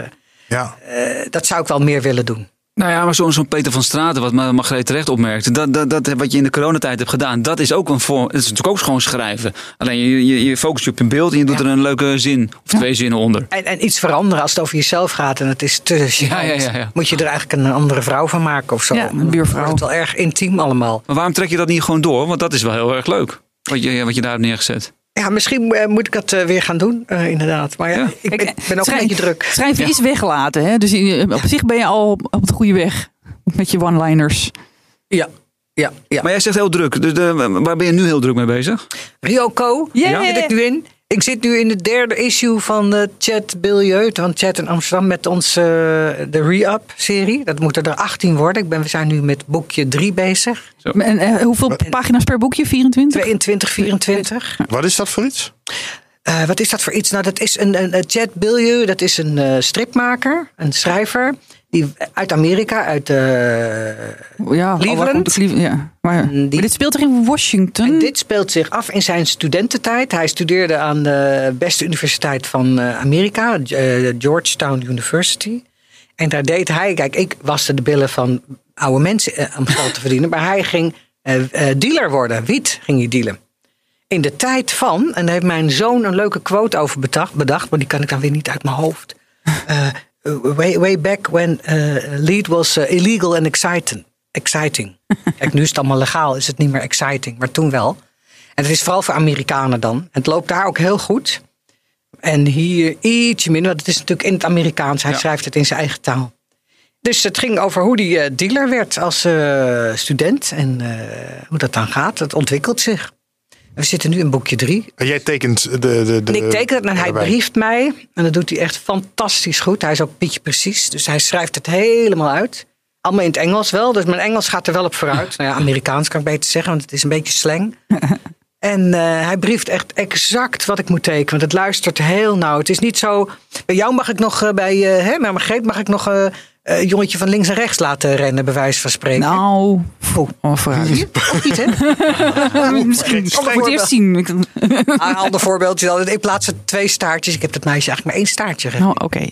[SPEAKER 3] Ja.
[SPEAKER 1] Eh, dat zou ik wel meer willen doen.
[SPEAKER 2] Nou ja, maar zo'n zo'n Peter van Straten, wat Ma- Margreet terecht opmerkte, dat, dat, dat wat je in de coronatijd hebt gedaan, dat is ook een vorm. Het is natuurlijk ook gewoon schrijven. Alleen je, je, je focust je op een beeld en je doet
[SPEAKER 1] Ja.
[SPEAKER 2] er een leuke zin of twee zinnen onder.
[SPEAKER 1] En, en iets veranderen als het over jezelf gaat en het is te gênant.
[SPEAKER 2] Ja, ja, ja, ja.
[SPEAKER 1] Moet je er eigenlijk een andere vrouw van maken of zo.
[SPEAKER 4] Ja, een buurvrouw.
[SPEAKER 1] Het is wel erg intiem allemaal.
[SPEAKER 2] Maar waarom trek je dat niet gewoon door? Want dat is wel heel erg leuk. Wat je, wat je daar hebt neergezet.
[SPEAKER 1] Ja, misschien eh, moet ik dat eh, weer gaan doen, eh, inderdaad. Maar ja,
[SPEAKER 2] Ja.
[SPEAKER 1] ik ben,
[SPEAKER 4] Kijk,
[SPEAKER 1] ben ook
[SPEAKER 4] schrij-
[SPEAKER 1] een beetje druk.
[SPEAKER 4] Schrijven is weggelaten. Hè? Dus in- op zich ben je al op, op de goede weg. Met je one-liners.
[SPEAKER 1] Ja, ja, ja.
[SPEAKER 2] Maar jij zegt heel druk. Dus eh, waar ben je nu heel druk mee bezig?
[SPEAKER 1] Ryoko,
[SPEAKER 4] Ja.
[SPEAKER 1] daar zit ik nu in. Ik zit nu in het derde issue van eh, Chat Biljeut. Van Chat in Amsterdam met onze eh, de Re-Up-serie. Dat moeten er 18 worden. Ik ben, we zijn nu met boekje 3 bezig.
[SPEAKER 4] En eh, hoeveel pagina's per boekje? 24?
[SPEAKER 1] 22, 24.
[SPEAKER 3] Wat is dat voor iets?
[SPEAKER 1] Eh, wat is dat voor iets? Nou, dat is een, een, een Chad Billieu, dat is een eh, stripmaker, een schrijver. Die uit Amerika, uit. eh,
[SPEAKER 4] Ja, oh, waar
[SPEAKER 1] Cleveland?
[SPEAKER 4] komt de Cleveland? Ja. Maar,
[SPEAKER 1] Mm, Die-
[SPEAKER 4] maar dit speelt er in Washington.
[SPEAKER 1] en dit speelt zich af in zijn studententijd. Hij studeerde aan de beste universiteit van eh, Amerika, eh, Georgetown University. En daar deed hij, kijk, ik waste de billen van oude mensen eh, om geld te verdienen. Maar hij ging eh, eh, dealer worden, wiet ging hij dealen. In de tijd van, en daar heeft mijn zoon een leuke quote over bedacht, bedacht maar die kan ik dan weer niet uit mijn hoofd. Eh, way, way back when eh, lead was eh, illegal and exciting. exciting. Kijk, nu is het allemaal legaal, is het niet meer exciting, maar toen wel. En het is vooral voor Amerikanen dan. En het loopt daar ook heel goed. En hier ietsje minder, want het is natuurlijk in het Amerikaans. Hij
[SPEAKER 2] Ja.
[SPEAKER 1] schrijft het in zijn eigen taal. Dus het ging over hoe die eh, dealer werd als eh, student en eh, hoe dat dan gaat. Dat ontwikkelt zich. We zitten nu in boekje drie.
[SPEAKER 3] En Eh, Jij tekent de... de, de
[SPEAKER 1] En ik teken het en hij
[SPEAKER 3] erbij.
[SPEAKER 1] brieft mij. En dat doet hij echt fantastisch goed. Hij is ook Pietje precies. Dus hij schrijft het helemaal uit. Allemaal in het Engels wel. Dus mijn Engels gaat er wel op vooruit. Nou ja, Amerikaans kan ik beter zeggen, want het is een beetje slang. En eh, hij brieft echt exact wat ik moet tekenen. Want het luistert heel nauw. Het is niet zo. Bij jou mag ik nog eh, bij. eh, hè, maar Margreet mag ik nog. eh eh, jongetje van links en rechts laten rennen, bij wijze van spreken.
[SPEAKER 4] Nou,
[SPEAKER 1] Oh,
[SPEAKER 4] oh, vooruit.
[SPEAKER 1] ook niet, hè? [laughs]
[SPEAKER 4] Misschien
[SPEAKER 1] Streng-
[SPEAKER 4] voor het eerst zien. Ik-
[SPEAKER 1] Ah, Een ander voorbeeldje dan. In plaats van twee staartjes. Ik heb dat meisje eigenlijk maar één staartje gegeven.
[SPEAKER 4] Nou, oké.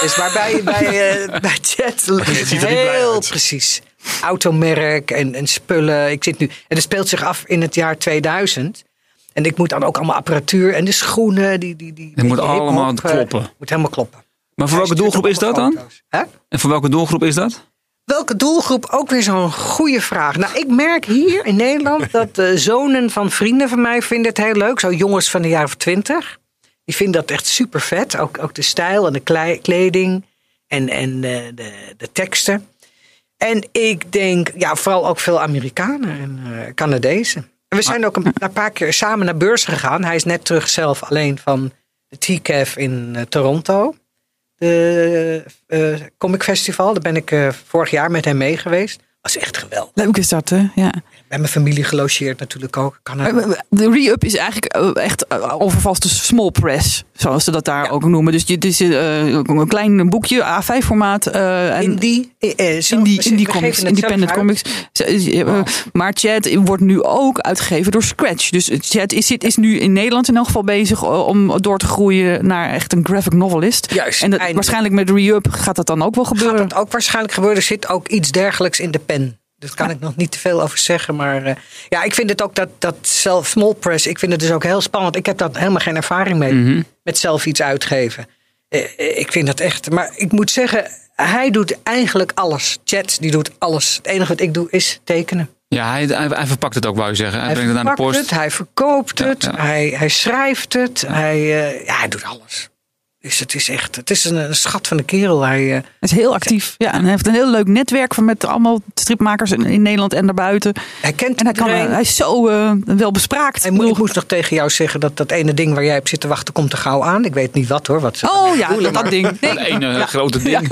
[SPEAKER 1] Dus
[SPEAKER 3] [laughs]
[SPEAKER 1] waarbij bij, eh bij chat is
[SPEAKER 3] ziet
[SPEAKER 1] het
[SPEAKER 3] er niet blij
[SPEAKER 1] heel
[SPEAKER 3] uit.
[SPEAKER 1] precies. Automerk en, en spullen. Ik zit nu, en het speelt zich af in het jaar 2000. En ik moet dan ook allemaal apparatuur en de schoenen. Die, die, die,
[SPEAKER 2] Het moet
[SPEAKER 1] die
[SPEAKER 2] allemaal
[SPEAKER 1] hip-hop, eh,
[SPEAKER 2] kloppen.
[SPEAKER 1] moet helemaal kloppen.
[SPEAKER 2] Maar voor welke
[SPEAKER 1] Hij stuurt
[SPEAKER 2] doelgroep is dat
[SPEAKER 1] allemaal
[SPEAKER 2] dan?
[SPEAKER 1] foto's. Hè?
[SPEAKER 2] En voor welke doelgroep is dat?
[SPEAKER 1] Welke doelgroep? Ook weer zo'n goede vraag. Nou, ik merk hier in Nederland dat eh, zonen van vrienden van mij vinden het heel leuk. Zo jongens van de jaren twintig. Die vinden dat echt super vet. Ook, ook de stijl en de klei- kleding en, en eh, de, de teksten. En ik denk, ja, vooral ook veel Amerikanen en eh, Canadezen. En we zijn ook een, een paar keer samen naar beurs gegaan. Hij is net terug zelf alleen van de TCAF in eh, Toronto de eh, Comic Festival. Daar ben ik eh, vorig jaar eh, met hem mee geweest. was echt geweldig.
[SPEAKER 4] Leuk is dat, hè? Ja. Eh,
[SPEAKER 1] Bij mijn familie gelogeerd natuurlijk ook. Canada.
[SPEAKER 4] De re-up is eigenlijk eh, echt eh, overvast dus small press, zoals ze dat daar ook noemen. Dus je- het is eh, een klein boekje, A5-formaat. en
[SPEAKER 1] Indie. eh, eh, zelf-
[SPEAKER 4] Indie,
[SPEAKER 1] we
[SPEAKER 4] indie
[SPEAKER 1] geven
[SPEAKER 4] comics,
[SPEAKER 1] het
[SPEAKER 4] independent
[SPEAKER 1] zelf uit. Oh.
[SPEAKER 4] comics. Ze- is- eh, Maar Chad wordt nu ook uitgegeven door Scratch. Dus Chad is, zit- is nu in Nederland in elk geval bezig eh, om door te groeien naar echt een graphic novelist.
[SPEAKER 1] Juist,
[SPEAKER 4] en dat,
[SPEAKER 1] eindelijk.
[SPEAKER 4] waarschijnlijk met Re-Up gaat dat dan ook wel
[SPEAKER 1] Gaat
[SPEAKER 4] gebeuren.
[SPEAKER 1] dat ook waarschijnlijk gebeuren. Er zit ook iets dergelijks in de pen. Daar kan ik nog niet te veel over zeggen. Maar eh, ja, ik vind het ook dat, dat zelf small press. Ik vind het dus ook heel spannend. Ik heb daar helemaal geen ervaring mee.
[SPEAKER 2] Mhm.
[SPEAKER 1] Met zelf iets uitgeven. Eh, eh, ik vind dat echt. Maar ik moet zeggen, hij doet eigenlijk alles. Chats, die doet alles. Het enige wat ik doe is tekenen.
[SPEAKER 2] Ja, hij, hij, hij verpakt het ook, wou je zeggen. Hij, brengt het aan de
[SPEAKER 1] verpakt
[SPEAKER 2] post.
[SPEAKER 1] het, hij verkoopt
[SPEAKER 2] Ja,
[SPEAKER 1] het,
[SPEAKER 2] ja.
[SPEAKER 1] Hij, hij schrijft het. Hij, eh, ja, hij doet alles. Dus het is echt, het is een, een schat van de kerel. Hij, eh,
[SPEAKER 4] Hij is heel actief. Ja, en hij heeft een heel leuk netwerk van met allemaal stripmakers in, in Nederland en daarbuiten.
[SPEAKER 1] hij kent
[SPEAKER 4] En hij, kan,
[SPEAKER 1] iedereen.
[SPEAKER 4] eh, hij is zo eh, wel bespraakt.
[SPEAKER 1] En mo- ik moest nog tegen jou zeggen dat dat ene ding waar jij op zit te wachten komt er gauw aan. Ik weet niet wat hoor. Wat ze-
[SPEAKER 4] Oh ja, dat, dat
[SPEAKER 1] [laughs]
[SPEAKER 4] ding. Nee,
[SPEAKER 2] Dat ene eh, grote ding.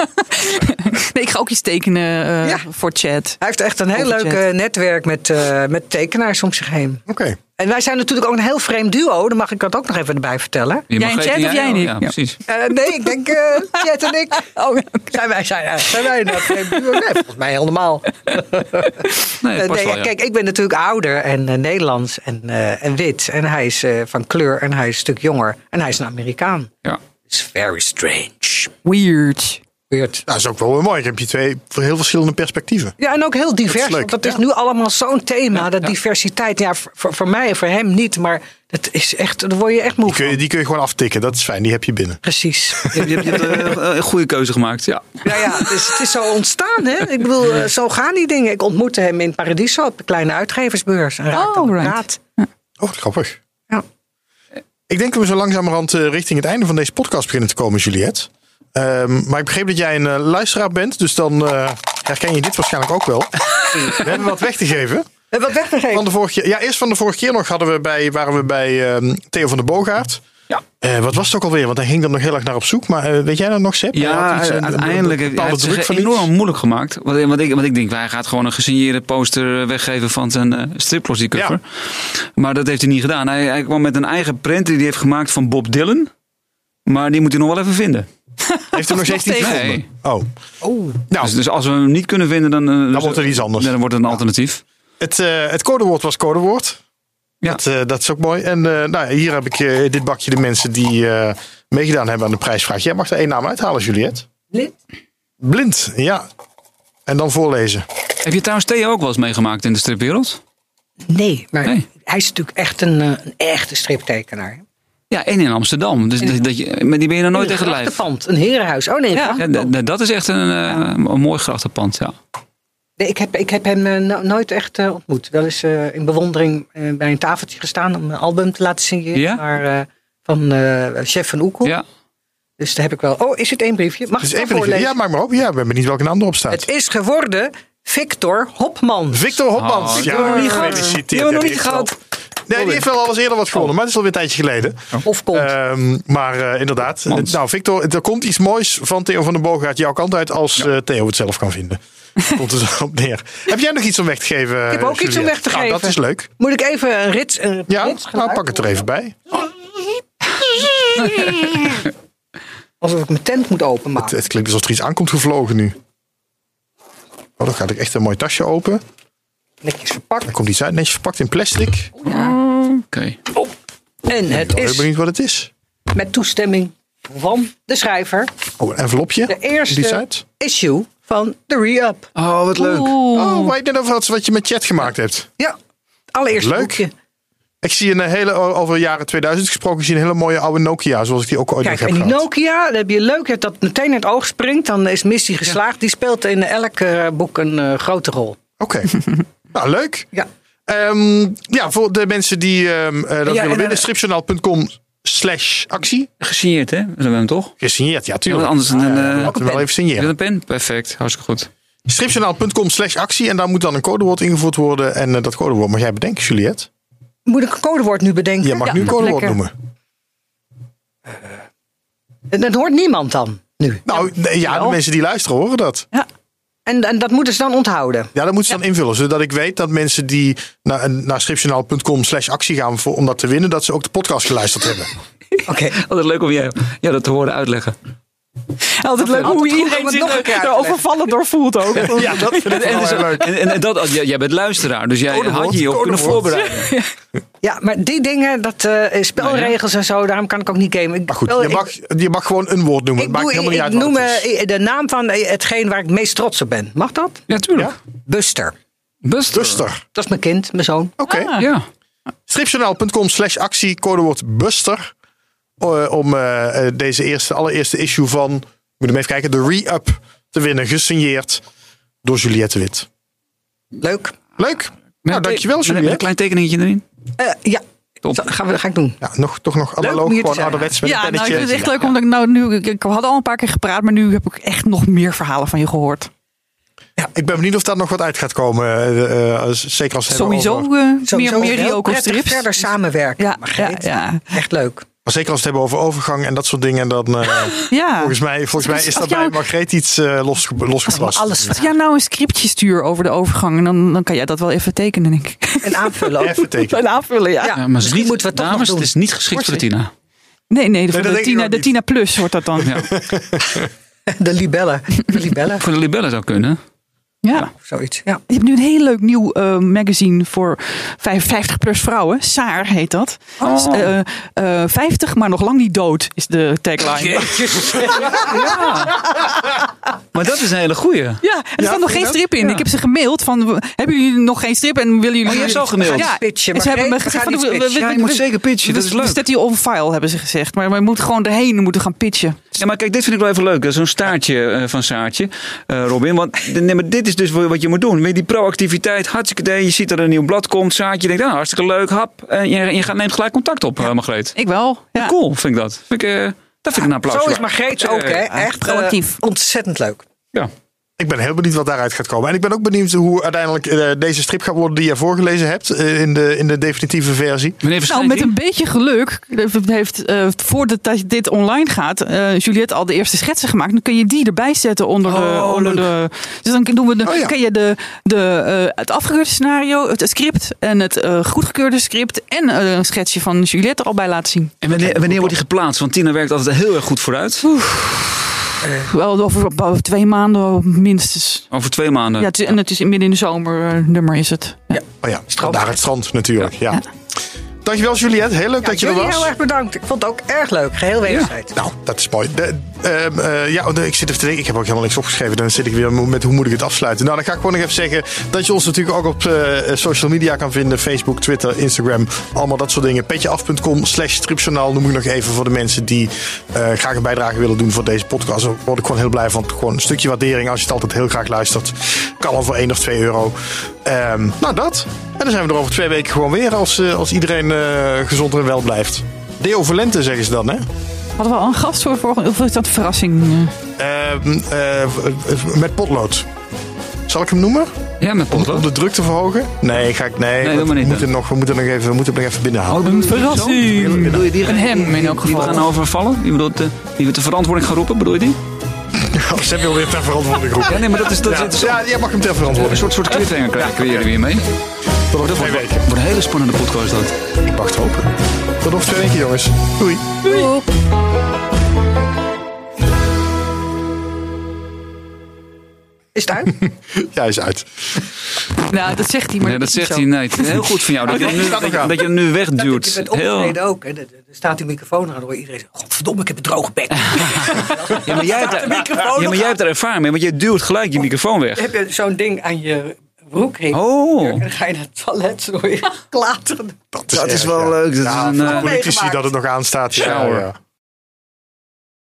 [SPEAKER 4] [laughs] nee, ik ga ook iets tekenen eh,
[SPEAKER 1] Ja.
[SPEAKER 4] voor Chad.
[SPEAKER 1] Hij heeft echt een heel
[SPEAKER 4] Overchat.
[SPEAKER 1] leuk eh, netwerk met, eh, met tekenaars om zich heen.
[SPEAKER 3] Oké.
[SPEAKER 1] En wij zijn natuurlijk ook een heel vreemd duo. Dan mag ik dat ook nog even erbij vertellen.
[SPEAKER 2] Je
[SPEAKER 4] Jij
[SPEAKER 2] mag
[SPEAKER 4] en Chad
[SPEAKER 2] eten,
[SPEAKER 4] of
[SPEAKER 2] ja,
[SPEAKER 4] jij
[SPEAKER 2] oh,
[SPEAKER 4] niet?
[SPEAKER 2] Ja,
[SPEAKER 4] Ja.
[SPEAKER 2] precies.
[SPEAKER 1] Eh, nee, ik denk eh Chet en ik.
[SPEAKER 4] [laughs] Oh, ja.
[SPEAKER 1] Zijn wij, zijn, eh, zijn wij een vreemd duo? Nee, volgens mij helemaal.
[SPEAKER 2] Nee, het
[SPEAKER 1] Eh,
[SPEAKER 2] past
[SPEAKER 1] nee,
[SPEAKER 2] wel,
[SPEAKER 1] ja,
[SPEAKER 2] ja.
[SPEAKER 1] Kijk, ik ben natuurlijk ouder en eh, Nederlands en, eh, en wit. En hij is eh, van kleur en hij is een stuk jonger. En hij is een Amerikaan.
[SPEAKER 2] Ja.
[SPEAKER 1] It's very strange.
[SPEAKER 4] Weird.
[SPEAKER 1] Weird.
[SPEAKER 3] Dat Nou, is ook wel weer mooi. Dan heb je twee heel verschillende perspectieven.
[SPEAKER 1] Ja, en ook heel divers. want
[SPEAKER 3] leuk,
[SPEAKER 1] dat is
[SPEAKER 3] ja.
[SPEAKER 1] nu allemaal zo'n thema, dat diversiteit. Ja, voor- voor, voor mij en voor hem niet, maar dat is echt, daar word je echt moe
[SPEAKER 3] Die kun, je,
[SPEAKER 1] van.
[SPEAKER 3] die kun je gewoon aftikken. Dat is fijn. Die heb je binnen. [laughs]
[SPEAKER 1] Precies.
[SPEAKER 2] Je hebt, je hebt, je hebt, eh, een goede keuze gemaakt, ja.
[SPEAKER 1] ja, ja het, is, het is zo ontstaan, hè? Ik bedoel, eh, zo gaan die dingen. Ik ontmoette hem in Paradiso op de kleine uitgeversbeurs. En raakte
[SPEAKER 4] Oh,
[SPEAKER 1] aan de
[SPEAKER 4] right.
[SPEAKER 1] praat.
[SPEAKER 3] Oh, wat grappig.
[SPEAKER 1] Ja.
[SPEAKER 3] Ik denk dat we zo langzamerhand eh, richting het einde van deze podcast beginnen te komen, Juliette. Ehm, maar ik begreep dat jij een eh, luisteraar bent, dus dan eh, herken je dit waarschijnlijk ook wel. we hebben wat weg te geven.
[SPEAKER 1] En Eh, wat weggegeven.
[SPEAKER 3] Van de vorige, ja, eerst van de vorige keer nog hadden we bij, waren we bij ehm, Theo van der Boogaard.
[SPEAKER 2] Ja.
[SPEAKER 3] Eh, wat was het ook alweer? Want hij ging er nog heel erg naar op zoek. Maar eh, weet jij dat nog, Sepp? Hij
[SPEAKER 2] Ja, eh,
[SPEAKER 3] had iets, een- een- een
[SPEAKER 2] uiteindelijk heeft
[SPEAKER 3] bepaalde
[SPEAKER 2] hij het
[SPEAKER 3] druk
[SPEAKER 2] zich
[SPEAKER 3] van iets.
[SPEAKER 2] enorm moeilijk gemaakt. Want, want, ik, want ik denk, hij gaat gewoon een gesigneerde poster eh, weggeven van zijn eh striplos, die cover. Maar dat heeft hij niet gedaan. Hij, hij kwam met een eigen print die hij heeft gemaakt van Bob Dylan. Maar die moet hij nog wel even vinden.
[SPEAKER 3] Heeft hij nog steeds niet
[SPEAKER 4] tegen.
[SPEAKER 3] gevonden?
[SPEAKER 2] Nee.
[SPEAKER 3] Oh. Nou,
[SPEAKER 2] Dus, dus als we hem niet kunnen vinden, dan, eh, dus-
[SPEAKER 3] wordt het iets anders.
[SPEAKER 2] Dan wordt het een alternatief.
[SPEAKER 3] het, eh, het codewoord was codewoord.
[SPEAKER 2] Ja.
[SPEAKER 3] Dat, eh, dat is ook mooi. En eh, nou, ja, hier heb ik eh, dit bakje de mensen die eh, meegedaan hebben aan de prijsvraag. Jij mag er één naam uithalen, Juliette.
[SPEAKER 1] Blind?
[SPEAKER 3] Blind, ja. En dan voorlezen.
[SPEAKER 2] Heb je trouwens Theo ook wel eens meegemaakt in de stripwereld?
[SPEAKER 1] Nee, maar
[SPEAKER 2] Nee.
[SPEAKER 1] hij is natuurlijk echt een, eh, een echte striptekenaar. hè.
[SPEAKER 2] Ja, en in Amsterdam. Dus dat, dat je, maar die ben je nog nooit
[SPEAKER 1] In een
[SPEAKER 2] tegen het lijf.
[SPEAKER 1] grachtenpand, Een herenhuis. Oh nee, een
[SPEAKER 4] Ja.
[SPEAKER 2] Ja,
[SPEAKER 1] grachtenpand.
[SPEAKER 2] d- d- dat is echt een, eh, een mooi grachtenpand, ja.
[SPEAKER 1] Nee, ik, heb, ik heb hem eh, no- nooit echt eh, ontmoet. Wel eens eh, in bewondering eh, bij een tafeltje gestaan om een album te laten signeren.
[SPEAKER 2] Ja?
[SPEAKER 1] Maar, eh, van eh, chef van Oekel.
[SPEAKER 2] ja.
[SPEAKER 1] Dus daar heb ik wel. Oh, is het één briefje? Mag
[SPEAKER 3] Dus
[SPEAKER 1] ik
[SPEAKER 3] één
[SPEAKER 1] het
[SPEAKER 3] van die-
[SPEAKER 1] voorlezen?
[SPEAKER 3] Ja, maak maar op. Ja, ik ben benieuwd welke naam erop staat.
[SPEAKER 1] Het is geworden Victor Hopman.
[SPEAKER 3] Victor Hopmans.
[SPEAKER 1] Ah,
[SPEAKER 2] Oh,
[SPEAKER 3] ja,
[SPEAKER 2] die hebben we nog niet gehad.
[SPEAKER 3] gefeliciteerd.
[SPEAKER 2] Die hebben we nog
[SPEAKER 3] Ja,
[SPEAKER 2] niet
[SPEAKER 3] heeft wel-
[SPEAKER 2] gehad.
[SPEAKER 3] Nee, die heeft wel alles eerder wat
[SPEAKER 1] Oh.
[SPEAKER 3] gewonnen, maar het is alweer een tijdje geleden.
[SPEAKER 1] Of komt.
[SPEAKER 3] Ehm, maar eh, inderdaad.
[SPEAKER 2] Mans.
[SPEAKER 3] Nou, Victor, er komt iets moois van Theo van den Boogaard jouw kant uit als eh, Theo het zelf kan
[SPEAKER 1] [laughs]
[SPEAKER 3] vinden. komt het op neer. Heb jij nog iets om weg te geven?
[SPEAKER 1] ik heb ook iets om weg te geven.
[SPEAKER 3] Nou, dat is leuk.
[SPEAKER 1] Moet ik even een rits. Een
[SPEAKER 3] Ja,
[SPEAKER 1] ritsgeluid
[SPEAKER 3] nou, pak het er even bij.
[SPEAKER 1] Alsof ik mijn tent moet
[SPEAKER 3] Het,
[SPEAKER 1] openmaken.
[SPEAKER 3] het klinkt alsof er iets aankomt gevlogen nu. Oh, dan gaat ik echt een mooi tasje open.
[SPEAKER 1] Netjes verpakt.
[SPEAKER 3] Dan komt iets uit, netjes verpakt in plastic.
[SPEAKER 2] Oké.
[SPEAKER 1] En het
[SPEAKER 3] Ik ben
[SPEAKER 1] is
[SPEAKER 3] benieuwd wat het is.
[SPEAKER 1] met toestemming van de schrijver
[SPEAKER 3] Oh, een envelopje.
[SPEAKER 1] de
[SPEAKER 3] Komt iets
[SPEAKER 1] eerste
[SPEAKER 3] uit.
[SPEAKER 1] issue van de Re-Up.
[SPEAKER 2] Oh, wat leuk.
[SPEAKER 3] Oh, waar je het net over had, wat je met chat gemaakt hebt.
[SPEAKER 1] Ja, het allereerste
[SPEAKER 3] Leuk.
[SPEAKER 1] boekje.
[SPEAKER 3] Ik zie een hele, over jaren 2000 gesproken, ik zie een hele mooie oude Nokia, zoals ik die ook ooit
[SPEAKER 1] Kijk,
[SPEAKER 3] nog
[SPEAKER 1] en
[SPEAKER 3] heb
[SPEAKER 1] die
[SPEAKER 3] gehad.
[SPEAKER 1] Nokia, dat heb je leuk dat dat meteen in het oog springt. Dan is missie geslaagd. Die speelt in elk eh, boek een eh, grote rol.
[SPEAKER 3] Oké, [laughs] nou leuk.
[SPEAKER 1] Ja.
[SPEAKER 3] Ehm, ja, voor de mensen die ehm eh, dat
[SPEAKER 1] en,
[SPEAKER 3] willen
[SPEAKER 1] eh,
[SPEAKER 3] winnen, stripjournaal.com slash actie.
[SPEAKER 2] Gesigneerd, hè? Zullen we hem toch?
[SPEAKER 3] Gesigneerd,
[SPEAKER 2] Ja,
[SPEAKER 3] ja
[SPEAKER 2] want
[SPEAKER 3] tuurlijk.
[SPEAKER 2] anders dan, eh,
[SPEAKER 3] Laten we wel even
[SPEAKER 2] Wil je
[SPEAKER 3] signeren.
[SPEAKER 2] een pen? Perfect, hartstikke goed.
[SPEAKER 3] Stripjournaal.com slash actie en daar moet dan een codewoord ingevoerd worden. En eh, dat codewoord mag jij bedenken, Juliette.
[SPEAKER 1] Moet ik een codewoord nu bedenken?
[SPEAKER 3] Je mag
[SPEAKER 4] Ja,
[SPEAKER 3] nu een codewoord
[SPEAKER 4] lekker.
[SPEAKER 3] noemen.
[SPEAKER 1] En Eh, dat hoort niemand dan nu.
[SPEAKER 3] Nou, nee, ja, de
[SPEAKER 4] Wel.
[SPEAKER 3] mensen die luisteren horen dat.
[SPEAKER 4] Ja.
[SPEAKER 1] En, en dat moeten ze dan
[SPEAKER 3] [laughs]
[SPEAKER 1] onthouden.
[SPEAKER 3] Ja, dat moeten ze dan invullen. Zodat ik weet dat mensen die naar, naar stripjournaal.com slash actie gaan voor, om dat te winnen, dat ze ook de podcast geluisterd hebben.
[SPEAKER 1] Oké.
[SPEAKER 2] Altijd Oh, leuk om jij ja, dat te horen uitleggen.
[SPEAKER 4] Altijd leuk
[SPEAKER 1] altijd
[SPEAKER 4] hoe
[SPEAKER 1] goed om
[SPEAKER 4] iedereen
[SPEAKER 1] het
[SPEAKER 4] zich
[SPEAKER 1] nog een keer uit
[SPEAKER 4] er-
[SPEAKER 1] te
[SPEAKER 4] er overvallen door voelt
[SPEAKER 1] [laughs]
[SPEAKER 4] ook.
[SPEAKER 3] Ja, [laughs] dat vind ik
[SPEAKER 2] En,
[SPEAKER 3] wel
[SPEAKER 2] dus-
[SPEAKER 3] heel leuk.
[SPEAKER 2] en, en, en dat, jij, jij bent luisteraar, dus jij
[SPEAKER 3] Codewoord,
[SPEAKER 2] had je je op kunnen
[SPEAKER 3] codewoord.
[SPEAKER 2] voorbereiden.
[SPEAKER 1] Ja, maar die dingen, dat eh, spelregels en zo, daarom kan ik ook niet gamen. Ik,
[SPEAKER 3] Maar goed,
[SPEAKER 1] speel-
[SPEAKER 3] je
[SPEAKER 1] ik-
[SPEAKER 3] mag, je mag gewoon een woord noemen.
[SPEAKER 1] ik,
[SPEAKER 3] Het maakt
[SPEAKER 1] doe-
[SPEAKER 3] helemaal niet
[SPEAKER 1] ik
[SPEAKER 3] uit wat
[SPEAKER 1] noem
[SPEAKER 3] het is.
[SPEAKER 1] eh, de naam van eh, hetgeen waar ik het meest trots op ben. Mag dat?
[SPEAKER 2] Ja, tuurlijk.
[SPEAKER 3] Ja? Dus-
[SPEAKER 1] Buster.
[SPEAKER 2] Buster.
[SPEAKER 3] Buster.
[SPEAKER 1] Dat is mijn kind, mijn zoon.
[SPEAKER 3] Oké.
[SPEAKER 2] Ja.
[SPEAKER 3] Stripjournaal.com slash actie, codewoord Buster. eh, om eh, eh, deze eerste, allereerste issue van, ik moet hem even kijken, de re-up te winnen. Gesigneerd door Juliette Wit.
[SPEAKER 1] Leuk.
[SPEAKER 3] Leuk.
[SPEAKER 2] Met
[SPEAKER 3] Nou,
[SPEAKER 2] een
[SPEAKER 3] dankjewel
[SPEAKER 2] te- met Een
[SPEAKER 3] Juliette.
[SPEAKER 2] klein tekeningetje erin.
[SPEAKER 1] Eh, ja,
[SPEAKER 2] Top.
[SPEAKER 1] Zo, gaan we, ga ik doen.
[SPEAKER 3] Ja, nog, toch nog
[SPEAKER 1] om
[SPEAKER 3] analoog,
[SPEAKER 1] hier te
[SPEAKER 3] gewoon
[SPEAKER 1] zijn.
[SPEAKER 3] ouderwets met
[SPEAKER 4] Ja,
[SPEAKER 3] een
[SPEAKER 4] nou, ik
[SPEAKER 3] pennetje.
[SPEAKER 4] vind het echt leuk omdat ik nou nu. Ik, ik had al een paar keer gepraat, maar nu heb ik echt nog meer verhalen van je gehoord.
[SPEAKER 3] Ik ben benieuwd of daar nog wat uit gaat komen. eh, eh, als- zeker als we het hebben
[SPEAKER 4] Sowieso
[SPEAKER 3] over-
[SPEAKER 4] eh,
[SPEAKER 1] Sowieso
[SPEAKER 4] meer, meer
[SPEAKER 1] heel
[SPEAKER 4] Ryoko
[SPEAKER 1] prettig
[SPEAKER 4] strips.
[SPEAKER 1] verder samenwerken.
[SPEAKER 4] Ja, ja,
[SPEAKER 1] Margreet.
[SPEAKER 4] ja.
[SPEAKER 1] Echt leuk.
[SPEAKER 3] Maar zeker als we het hebben over overgang en dat soort dingen. Dan, eh,
[SPEAKER 4] ja.
[SPEAKER 3] volgens, mij, volgens mij is
[SPEAKER 4] Als
[SPEAKER 3] dat bij
[SPEAKER 4] jou-
[SPEAKER 3] Margreet iets eh los, losgeplast.
[SPEAKER 1] Alles
[SPEAKER 4] Als ik jou nou een scriptje stuur over de overgang, en dan, dan kan jij dat wel even tekenen, denk ik.
[SPEAKER 1] en aanvullen ook.
[SPEAKER 3] Even
[SPEAKER 4] [laughs]
[SPEAKER 3] tekenen.
[SPEAKER 4] En aanvullen, ja.
[SPEAKER 1] Ja.
[SPEAKER 2] Ja, maar ze is
[SPEAKER 1] misschien
[SPEAKER 2] niet,
[SPEAKER 1] moeten we het toch
[SPEAKER 2] dames,
[SPEAKER 1] nog
[SPEAKER 2] het
[SPEAKER 1] doen.
[SPEAKER 2] is niet geschikt voor de Tina.
[SPEAKER 4] Nee, nee, voor
[SPEAKER 3] dat
[SPEAKER 4] de,
[SPEAKER 3] denk ik
[SPEAKER 4] Tina,
[SPEAKER 3] ook
[SPEAKER 4] de
[SPEAKER 3] niet.
[SPEAKER 4] Tina Plus wordt dat dan. Ja.
[SPEAKER 2] Ja.
[SPEAKER 1] De libellen. De libellen.
[SPEAKER 2] Voor de libellen zou kunnen.
[SPEAKER 1] Of zoiets. Ja.
[SPEAKER 4] Je hebt nu een heel leuk nieuw eh, magazine voor 55-plus vrouwen. Saar heet dat.
[SPEAKER 2] Oh.
[SPEAKER 4] Dus, eh, eh, 50, maar nog lang niet dood, is de tagline.
[SPEAKER 2] [laughs] Maar dat is een hele goeie.
[SPEAKER 4] Ja, en er staat nog geen strip in.
[SPEAKER 2] Ja.
[SPEAKER 4] Ik heb ze gemaild van, hebben jullie nog geen strip en willen jullie...
[SPEAKER 2] Oh, je hebt ze al gemaild.
[SPEAKER 4] Ja,
[SPEAKER 1] Pitchen,
[SPEAKER 4] en ze
[SPEAKER 1] maar
[SPEAKER 4] hebben me
[SPEAKER 1] geen- we
[SPEAKER 4] gezegd
[SPEAKER 1] gaan
[SPEAKER 4] van,
[SPEAKER 1] iets
[SPEAKER 4] we- we-
[SPEAKER 1] pitchen.
[SPEAKER 4] we-
[SPEAKER 2] Ja, je
[SPEAKER 4] we-
[SPEAKER 2] moet
[SPEAKER 4] we-
[SPEAKER 2] zeker pitchen, dat is
[SPEAKER 4] we-
[SPEAKER 2] leuk.
[SPEAKER 4] We zetten je on file, hebben ze gezegd. Maar we moeten gewoon erheen, we moeten gaan pitchen.
[SPEAKER 2] Ja, maar kijk, dit vind ik wel even leuk. hè. Zo'n staartje eh, van Saartje, eh, Robin. Want nee, maar dit is dus wat je moet doen. Weer die proactiviteit, hartstikke idee. Je ziet dat er een nieuw blad komt. Saartje denkt, ah, hartstikke leuk, hap. En je, je gaat, neemt gelijk contact op, eh, Margreet.
[SPEAKER 4] Ik wel. Ja.
[SPEAKER 2] Cool, vind ik dat. Vind ik, eh, dat vind ik een applaus.
[SPEAKER 1] Zo is
[SPEAKER 2] waard.
[SPEAKER 1] Margreet ook, hè?
[SPEAKER 4] eh,
[SPEAKER 1] Echt eh,
[SPEAKER 4] proactief.
[SPEAKER 1] ontzettend leuk.
[SPEAKER 2] Ja.
[SPEAKER 3] Ik ben heel benieuwd wat daaruit gaat komen. En ik ben ook benieuwd hoe uiteindelijk eh, deze strip gaat worden die je voorgelezen hebt eh, in, de, in de definitieve versie.
[SPEAKER 2] Wanneer verschijnt
[SPEAKER 4] Nou, met
[SPEAKER 2] die?
[SPEAKER 4] een beetje geluk heeft, eh, voordat dit online gaat, eh, Juliette al de eerste schetsen gemaakt. Dan kun je die erbij zetten onder, de,
[SPEAKER 2] Oh,
[SPEAKER 4] onder
[SPEAKER 2] leuk.
[SPEAKER 4] de. Dus dan doen we de,
[SPEAKER 3] Oh, ja.
[SPEAKER 4] kun je de, de, eh, het afgekeurde scenario, het script en het eh, goedgekeurde script en eh, een schetsje van Juliette er al bij laten zien.
[SPEAKER 2] En wanneer, wanneer wordt die geplaatst? Want Tina werkt altijd heel erg goed vooruit.
[SPEAKER 4] Wel over, over twee maanden minstens.
[SPEAKER 2] Over twee maanden.
[SPEAKER 4] Ja, het is- en het is midden in de zomer eh, nummer is het.
[SPEAKER 3] Oh ja, daar het strand natuurlijk. Ja. Dankjewel Juliette, heel leuk dat je er
[SPEAKER 1] Jullie
[SPEAKER 3] was.
[SPEAKER 1] heel erg bedankt. Ik vond het ook erg leuk. Geheel wederzijds.
[SPEAKER 3] Nou, dat is mooi. De- ehm, eh, ja, nee, ik zit even te denken. Ik heb ook helemaal niks opgeschreven. Dan zit ik weer mo- met hoe moet ik het afsluiten. Nou, dan ga ik gewoon nog even zeggen dat je ons natuurlijk ook op eh, social media kan vinden. Facebook, Twitter, Instagram. Allemaal dat soort dingen. Petjeaf.com slash stripjournaal noem ik nog even voor de mensen die eh, graag een bijdrage willen doen voor deze podcast. Daar word ik gewoon heel blij van. Gewoon een stukje waardering als je het altijd heel graag luistert. Kan al voor 1 of 2 euro. Ehm, nou, dat. En dan zijn we er over twee weken gewoon weer als, eh, als iedereen eh, gezond en wel blijft. Deo Valente zeggen ze dan, hè?
[SPEAKER 4] Hadden we al een gast voor volgende? Of is dat een verrassing? eh?
[SPEAKER 3] Ehm, eh, v- v- met potlood. Zal ik hem noemen?
[SPEAKER 2] Ja, met
[SPEAKER 3] Om
[SPEAKER 2] potlood.
[SPEAKER 3] de druk te verhogen? Nee, ga ik. Nee,
[SPEAKER 2] doe
[SPEAKER 3] want
[SPEAKER 2] maar
[SPEAKER 3] we,
[SPEAKER 2] niet,
[SPEAKER 3] moeten
[SPEAKER 2] hè.
[SPEAKER 3] nog, we, moeten nog even, we moeten hem nog even
[SPEAKER 2] Oh,
[SPEAKER 3] binnenhalen.
[SPEAKER 4] Een verrassing!
[SPEAKER 2] Bedoel je die
[SPEAKER 4] Een hem in elk
[SPEAKER 2] die we
[SPEAKER 4] geval.
[SPEAKER 2] gaan overvallen? Die, bedoelt, eh, die we te verantwoording gaan roepen, bedoel je die?
[SPEAKER 3] Oh, [laughs] Ze hebben alweer ter verantwoording
[SPEAKER 2] Ja,
[SPEAKER 3] geroepen.
[SPEAKER 2] nee, maar dat is... Dat,
[SPEAKER 3] Ja,
[SPEAKER 2] dat is
[SPEAKER 3] ja, jij mag hem ter
[SPEAKER 2] een
[SPEAKER 3] verantwoording.
[SPEAKER 2] soort, soort cliffhanger creë- creëren we hiermee. Dat
[SPEAKER 3] Tot over twee
[SPEAKER 2] wordt,
[SPEAKER 3] weken.
[SPEAKER 2] wordt een hele spannende podcast dat.
[SPEAKER 3] Ik mag het hopen. Tot over twee weken, jongens. Doei.
[SPEAKER 1] Is
[SPEAKER 2] [laughs]
[SPEAKER 1] het uit?
[SPEAKER 3] Ja, hij is uit.
[SPEAKER 4] Nou, dat zegt hij, maar
[SPEAKER 2] Nee, dat
[SPEAKER 4] is niet
[SPEAKER 2] zegt
[SPEAKER 4] zo.
[SPEAKER 2] hij nee. Heel goed van jou
[SPEAKER 1] Oh,
[SPEAKER 2] dat je hem nu,
[SPEAKER 3] staat nog aan.
[SPEAKER 2] dat je hem nu
[SPEAKER 1] Dat je
[SPEAKER 2] wegduwt.
[SPEAKER 1] bent
[SPEAKER 2] Heel,
[SPEAKER 1] opgetreden ook. hè. Dan dan staat die microfoon aan, dan hoor je iedereen zeggen... Godverdomme, ik heb een droge
[SPEAKER 4] [laughs]
[SPEAKER 1] bek.
[SPEAKER 2] ja, maar
[SPEAKER 1] [laughs]
[SPEAKER 2] jij hebt,
[SPEAKER 1] de microfoon
[SPEAKER 2] ja, maar
[SPEAKER 1] nog
[SPEAKER 2] jij
[SPEAKER 1] aan.
[SPEAKER 2] hebt er ervaring mee, want je duwt gelijk je microfoon weg.
[SPEAKER 1] heb je zo'n ding aan je broekring. En
[SPEAKER 2] Oh,
[SPEAKER 1] dan ga je naar het toilet, [laughs] zo hoor je klateren.
[SPEAKER 2] dat is wel
[SPEAKER 3] erg, ja.
[SPEAKER 2] leuk. Dat is
[SPEAKER 3] Ja,
[SPEAKER 2] een,
[SPEAKER 3] voor
[SPEAKER 2] eh,
[SPEAKER 3] politici dat het nog aanstaat. Ja,
[SPEAKER 2] Shower.
[SPEAKER 3] ja.